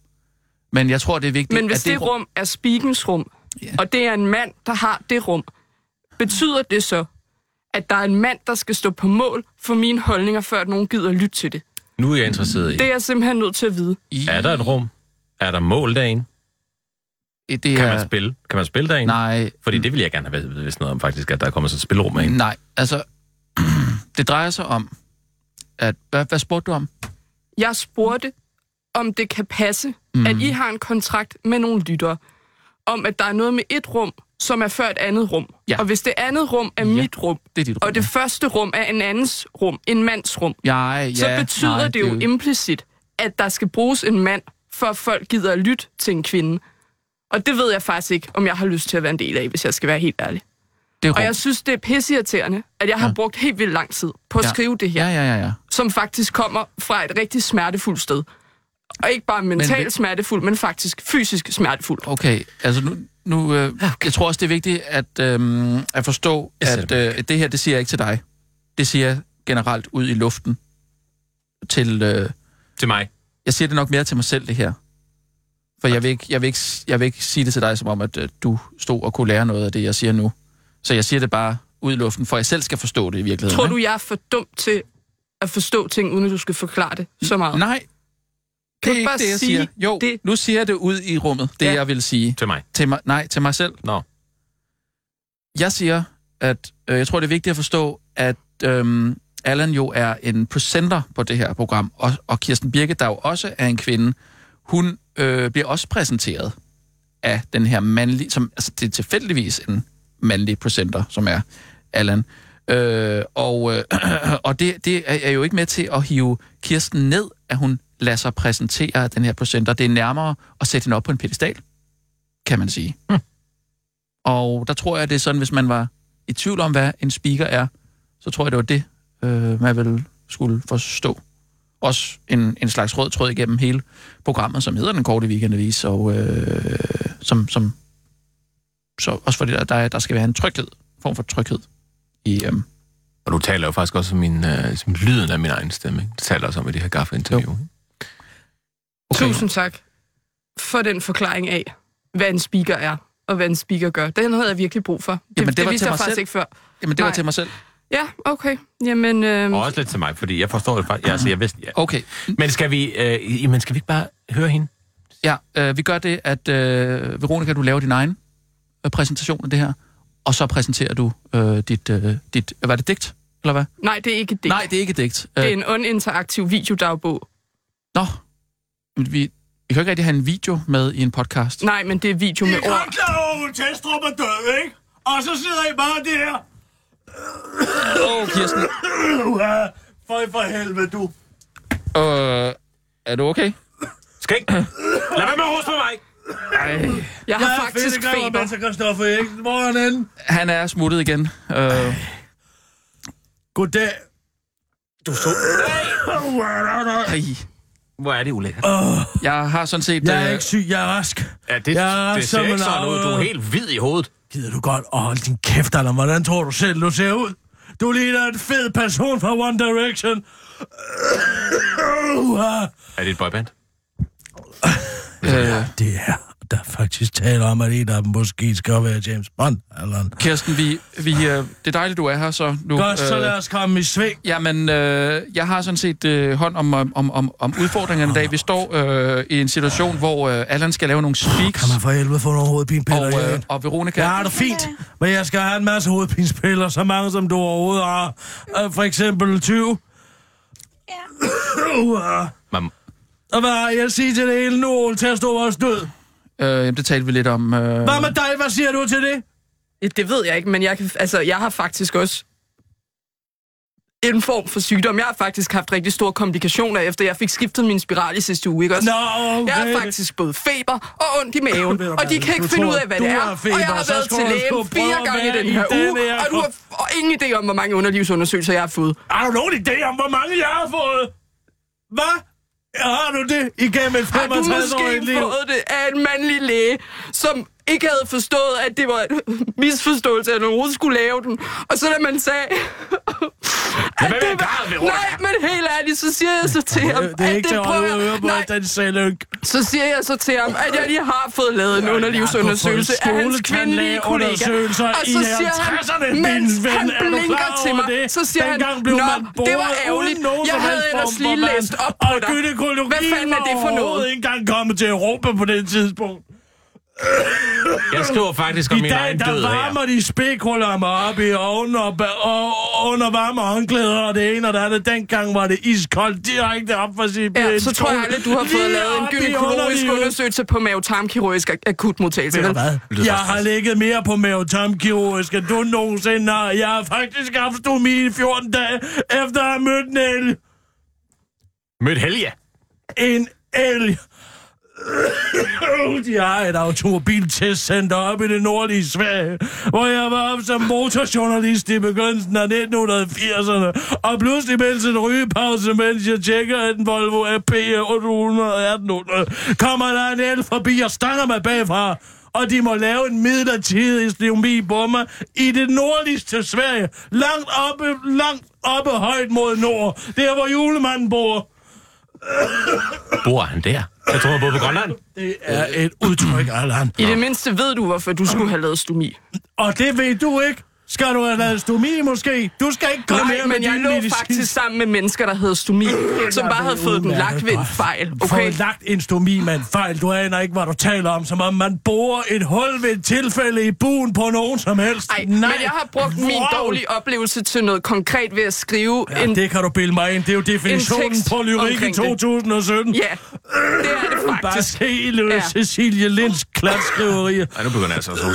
Men jeg tror, det er vigtigt, Men hvis at det, det rum er speakens rum, og det er en mand, der har det rum, betyder det så, at der er en mand, der skal stå på mål for mine holdninger, før at nogen gider lytte til det? Nu er jeg interesseret i. Det er jeg simpelthen nødt til at vide. Er der et rum? Er der mål derinde? Det kan, er- man spille? kan man spille derinde? Nej. Fordi det vil jeg gerne have vidst noget om faktisk, at der er kommet sådan et spillerum herinde. Nej, altså, [clears throat] det drejer sig om, at... Hvad, hvad spurgte du om? Jeg spurgte, om det kan passe, Mm. mm. at I har en kontrakt med nogle lyttere, om at der er noget med et rum, som er før et andet rum. Ja. Og hvis det andet rum er mit rum, det er dit rum, og det første rum er en andens rum, en mands rum, Jeg, så ja, betyder nej, det jo det- implicit, at der skal bruges en mand, for at folk gider at lytte til en kvinde. Og det ved jeg faktisk ikke, om jeg har lyst til at være en del af, hvis jeg skal være helt ærlig. Det og jeg synes, det er pisseirriterende, at jeg har ja. brugt helt vildt lang tid på at Ja. ja. skrive det her, Ja, ja, ja, ja. som faktisk kommer fra et rigtig smertefuldt sted. Og ikke bare mentalt vil- men... smertefuldt, men faktisk fysisk smertefuldt. Okay, altså nu... nu Ah, øh, okay. Jeg tror også, det er vigtigt at, øh, at forstå, at øh, det her, det siger jeg ikke til dig. Det siger jeg generelt ud i luften til... Øh, til mig? Jeg siger det nok mere til mig selv, det her. For jeg vil, ikke, jeg, vil ikke, jeg vil ikke sige det til dig, som om, at øh, du stod og kunne lære noget af det, jeg siger nu. Så jeg siger det bare ud i luften, for jeg selv skal forstå det i virkeligheden. Tror du, jeg er for dum til at forstå ting, uden at du skal forklare det så meget? Nej. Kan Det er ikke du ikke bare det, jeg sige, siger. Jo, det... nu siger jeg det ud i rummet, det ja. jeg vil sige. Til mig? Til mig nej, til mig selv. Nå. Jeg siger, at øh, jeg tror, det er vigtigt at forstå, at øhm, Allan jo er en presenter på det her program, og, og Kirsten Birke, der jo også er en kvinde, hun øh, bliver også præsenteret af den her mandlige, som, altså det er tilfældigvis en mandlig presenter, som er Allan. Øh, og øh, [clears throat] og det, det er er jo ikke med til at hive Kirsten ned, at hun lader sig præsentere af den her presenter. Det er nærmere at sætte hende op på en pedestal, kan man sige. Mm. Hmm. Og der tror jeg, det er sådan, hvis man var i tvivl om, hvad en speaker er, så tror jeg, det var det, øh, man vel skulle forstå. Også en, en slags rød tråd igennem hele programmet, som hedder Den Korte Weekendavis, og øh, som, som så også fordi der, der, der skal være en tryghed, form for tryghed. I, øhm. Og du taler jo faktisk også om min, øh, som lyden af min egen stemme. Ikke? Det taler også om i det her gaffe-interview. ikke? Okay. Tusind tak for den forklaring af, hvad en speaker er, og hvad en speaker gør. Den havde jeg virkelig brug for. Det, Jamen, det det var vidste til jeg mig faktisk selv. ikke før. Jamen, det var Nej. til mig selv. Ja, okay. Jamen, øh, Og også lidt til mig, fordi jeg forstår det faktisk. Ja, altså, jeg vidste, ja. Okay. Mm. Men skal vi, øh, jamen, skal vi ikke bare høre hende? Ja, øh, vi gør det, at øh, Veronica, du laver din egen øh, præsentation af det her, og så præsenterer du øh, dit, øh, dit, var det digt, eller hvad? nej, det er ikke det. Nej, det er ikke et digt. Øh, Det er en uninteraktiv videodagbog. Nå, men vi, vi kan jo ikke rigtig have en video med i en podcast. Nej, men det er video med I er ord. godt klar over, at Ole Testrup er død, ikke? Og så sidder I bare der. Åh, oh, Kirsten. Uha, for, for helvede, du. Øh, er du okay? Skal ikke? Lad være med at på mig. Ej. Jeg har er faktisk fedtegræver, feber. Mads og Christoffer Eriksen. Hvor er han henne? Han er smuttet igen. Øh, Goddag. Du så... ej. Hvor er det ulækkert? Jeg har sådan set... Jeg er øh, ikke syg, jeg er rask. Ja, det, jeg er det ser som en ikke sådan ud. Du er arve. helt hvid i hovedet. Gider du godt at holde din kæft, Allan? Hvordan tror du selv, du ser ud? Du ligner en fed person fra One Direction. Uha. Er det et boyband? øh, det er der faktisk taler om, at en af dem måske skal være James Bond, Allan. Kirsten, vi, vi, øh, det er dejligt, du er her så nu. Godt, så Øh, lad os komme i sving. Jamen, øh, jeg har sådan set øh, hånd om, om, om- om, om udfordringerne i dag. Vi står øh, i en situation, hvor øh, Allan skal lave nogle speaks, Kan man for helvede få nogle hovedpinepiller og, og, øh, og Veronica... Jeg har det Ah, fint, men jeg skal have en masse hovedpinepiller, så mange som du overhovedet har. Øh, For eksempel 20. Ja. Man, og hvad har jeg at sige til det hele nu, Ole Testrup er også død? Øh, jamen, det talte vi lidt om. Øh, Hvad med dig? Hvad siger du til det? Ja, det ved jeg ikke, men jeg, kan, altså, jeg har faktisk også en form for sygdom. Jeg har faktisk haft rigtig store komplikationer, efter jeg fik skiftet min spiral i sidste uge, ikke også? Nå, okay. Jeg har faktisk både feber og ondt i maven, Ved du og de hvad, kan ikke du finde tror, ud af, hvad du det er. har feber, og jeg har så været skal til du lægen sgu prøve fire at gange være i den i her den uge, her og du har og ingen idé om, hvor mange underlivsundersøgelser jeg har fået. Har du nogen idé om, hvor mange jeg har fået? Hvad? Har du det igennem et Har du 65-årigt måske liv? fået det af en mandlig læge, som ikke havde forstået, at det var en misforståelse, at nogen skulle lave den. Og så da man [laughs] sagde... at det var... Nej, men helt ærligt, så siger jeg så til ham, Det, det er at ikke til at prøver holde jeg- øre på, Nej, den sælønk. så siger jeg så til ham, at jeg lige har fået lavet en underlivsundersøgelse af hans kvindelige kollega. skoletandlægeundersøgelser Og i så siger han, 50'erne, mens min ven, han er du blinker klar til over mig, det? så siger han, Dengang blev man Nå, det var boret ærgerligt. uden nogen Jeg som havde helst ellers form for lige vand, læst op på Og dig. Hvad gynækologien fanden var er det for noget? overhovedet ikke engang kommet til Europa på det tidspunkt. Jeg skriver faktisk om I min dag, egen død der her. varmer de spækhuller mig op i ovnen og, ba- og, og under varme håndklæder, og det ene og det andet. Dengang var det iskoldt direkte op fra sit Ja, øh, så tror jeg skole. aldrig, du har fået Lige lavet en op i gynækologisk underlivet. undersøgelse på mavetarmkirurgisk akutmodtagelse. Ved du vel? hvad? Jeg har ligget mere på mavetarmkirurgisk, end du nogensinde har. Jeg har faktisk haft stomi i 14 dage, efter at have mødt en elg. Mødt Helge. En elg. De har et automobiltestcenter oppe i det nordlige Sverige, hvor jeg var op som motorjournalist i begyndelsen af 1980'erne, og pludselig mens en rygepause, mens jeg tjekker en Volvo AP 818, kommer der en el forbi og stanger mig bagfra, og de må lave en midlertidig stomi på mig i det nordligste Sverige, langt oppe, langt oppe højt mod nord, der hvor julemanden bor. Bor han der? Jeg tror, han bor på Grønland. Det er et udtryk, Allan. I det mindste ved du, hvorfor du skulle have lavet stomi. Og det ved du ikke. Skal du have lavet stomi måske? Du skal ikke komme Nej, her med men jeg din Øh, lå medicin. faktisk sammen med mennesker, der havde stomi, som bare havde fået den lagt ved en fejl, okay? Fået lagt en stomi med en fejl. Du aner ikke, hvad du taler om. Som om man borer et hul ved et tilfælde i buen på nogen som helst. Ej, men jeg har brugt min dårlige oplevelse til noget konkret ved at skrive Ja, en, det kan du bilde mig ind. Det er jo en definitionen tekst på lyrik i omkring det. 2017. Ja, det er det [laughs] Bare faktisk. se Lø Ja. ja. Uh. Cecilie Linds klatskriverier. Ej, nu begynder jeg altså at sove.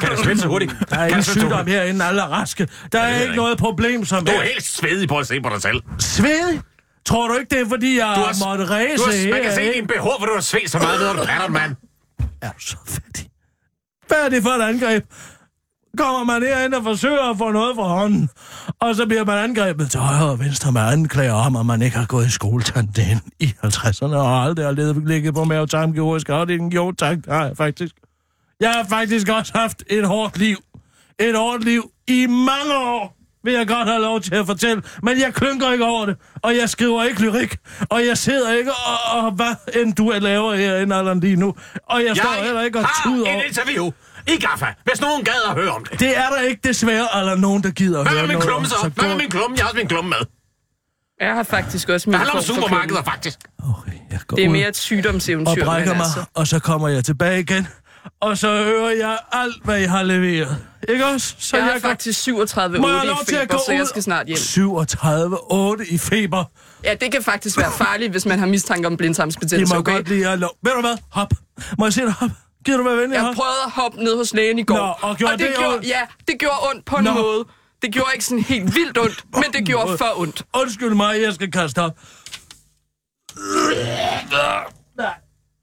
Kan det svinde så hurtigt? Der er Kan ingen det svinde så sygdom hurtigt? herinde, alle er raske. Der ved er jeg ikke ikke. noget problem som Du er helt svedig på at se på dig selv. Sved? Tror du ikke, det er, fordi jeg Du har, har- måtte Du ræse har, man kan se i her? din ikke? BH, hvor du har svedt så meget, ved du patter, mand. Er du så fattig? Hvad er det for et angreb? Kommer man herind og forsøger at få noget fra hånden, og så bliver man angrebet til højre og venstre med anklager om, at man ikke har gået i skoletandlægen i 50'erne og aldrig har levet- ligget på mavetarmkirurgisk afdeling. Jo tak, det har jeg faktisk. Jeg har faktisk også haft et hårdt liv. Et hårdt liv i mange år, vil jeg godt have lov til at fortælle. Men jeg klynker ikke over det, og jeg skriver ikke lyrik, og jeg sidder ikke og, og hvad end du laver herinde, Allan, lige nu. Og jeg, jeg står heller ikke og tuder har over. et interview i Gaffa, hvis nogen gad at høre om det. Det er der ikke desværre, eller nogen, der gider at Hvad høre med min noget klumme om, så? Hvad gå- med min klumme? Jeg har også min klumme med. Jeg har faktisk også min Det handler om form for supermarkeder, klumme. faktisk. Jeg går Det er ud mere et og sygdomseventyr, brækker men mig, altså. og så kommer jeg tilbage igen. Og så hører jeg alt, hvad I har leveret. Ikke også? Så Jeg har går- faktisk 37 Må jeg have i lov til at feber, gå så jeg ud? skal snart hjem. 37,8 i feber. Ja, det kan faktisk være farligt, hvis man har mistanke om I blindtarmsbetændelse, må okay? godt lige have lov. Ved du hvad? Hop. Må jeg se dig hop? Gider du være venlig? Jeg hop? prøvede at hoppe ned hos lægen i går. Nå, og gjorde og det, det gjorde, ondt? Ja, det gjorde ondt på en Nå. måde. Det gjorde ikke sådan helt vildt ondt, men det gjorde for ondt. Undskyld mig, jeg skal kaste op.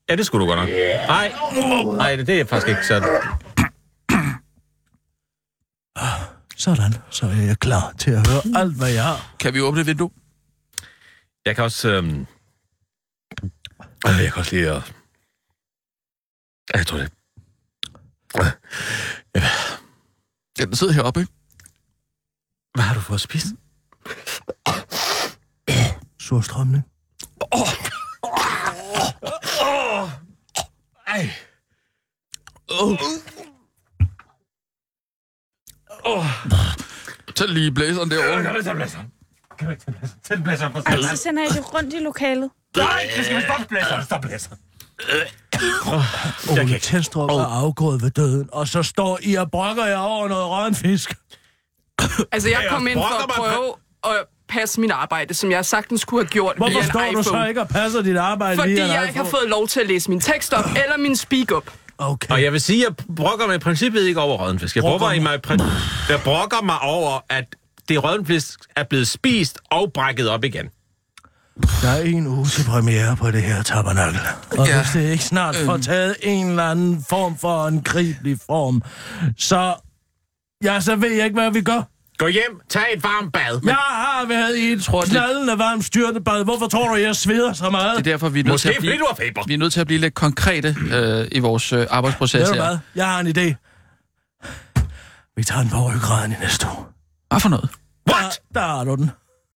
Ja, det skulle du godt nok. Nej, nej, det er faktisk ikke sådan. Sådan, så er jeg klar til at høre alt, hvad jeg har. Kan vi åbne et vindue? Jeg kan også... Øhm... øh, Jeg kan også lige... Øh... Jeg tror det. Ja, den sidder heroppe, ikke? Hvad har du fået at spise? Surstrømning. Ej. Tag lige blæseren derovre. Kom, tag blæseren. Kom, tag blæseren. Tag blæseren på Så Altså, sender jeg det rundt i lokalet. Nej, det skal være blæseren. Stop blæseren. Ole Tendstrup er afgået ved døden, og så står I og brokker jer over noget rønfisk. Altså, jeg Ja, kom ind for at brokker mig. prøve at passe mit arbejde, som jeg sagtens kunne have gjort Hvorfor via en står iPhone. du så ikke og passer dit arbejde Fordi via en jeg ikke har iPhone? fået lov til at læse min tekst op, eller min speak up. Okay. Og jeg vil sige, at jeg brokker mig i princippet ikke over rådden fisk. Jeg brokker, Brokker mig. i mig- Jeg brokker mig over, at det rødne fisk er blevet spist og brækket op igen. Der er en uge til premiere på det her tabernakel. Og ja. Ja. hvis det ikke snart øhm. får taget en eller anden form for en gribelig form, så... Ja, så ved jeg ikke, hvad vi gør. Gå hjem, tag et varmt bad. Jeg har været i et knaldende varmt styrtebad. Hvorfor tror du, jeg sveder så meget? Det er derfor, vi er nødt Måske til at blive, fordi du har feber. Vi er nødt til at blive lidt konkrete øh, i vores øh, arbejdsproces Ved du her. hvad? Jeg har en idé. Vi tager den på ryggraden i næste uge. Hvad for noget? What? Der, der har du den.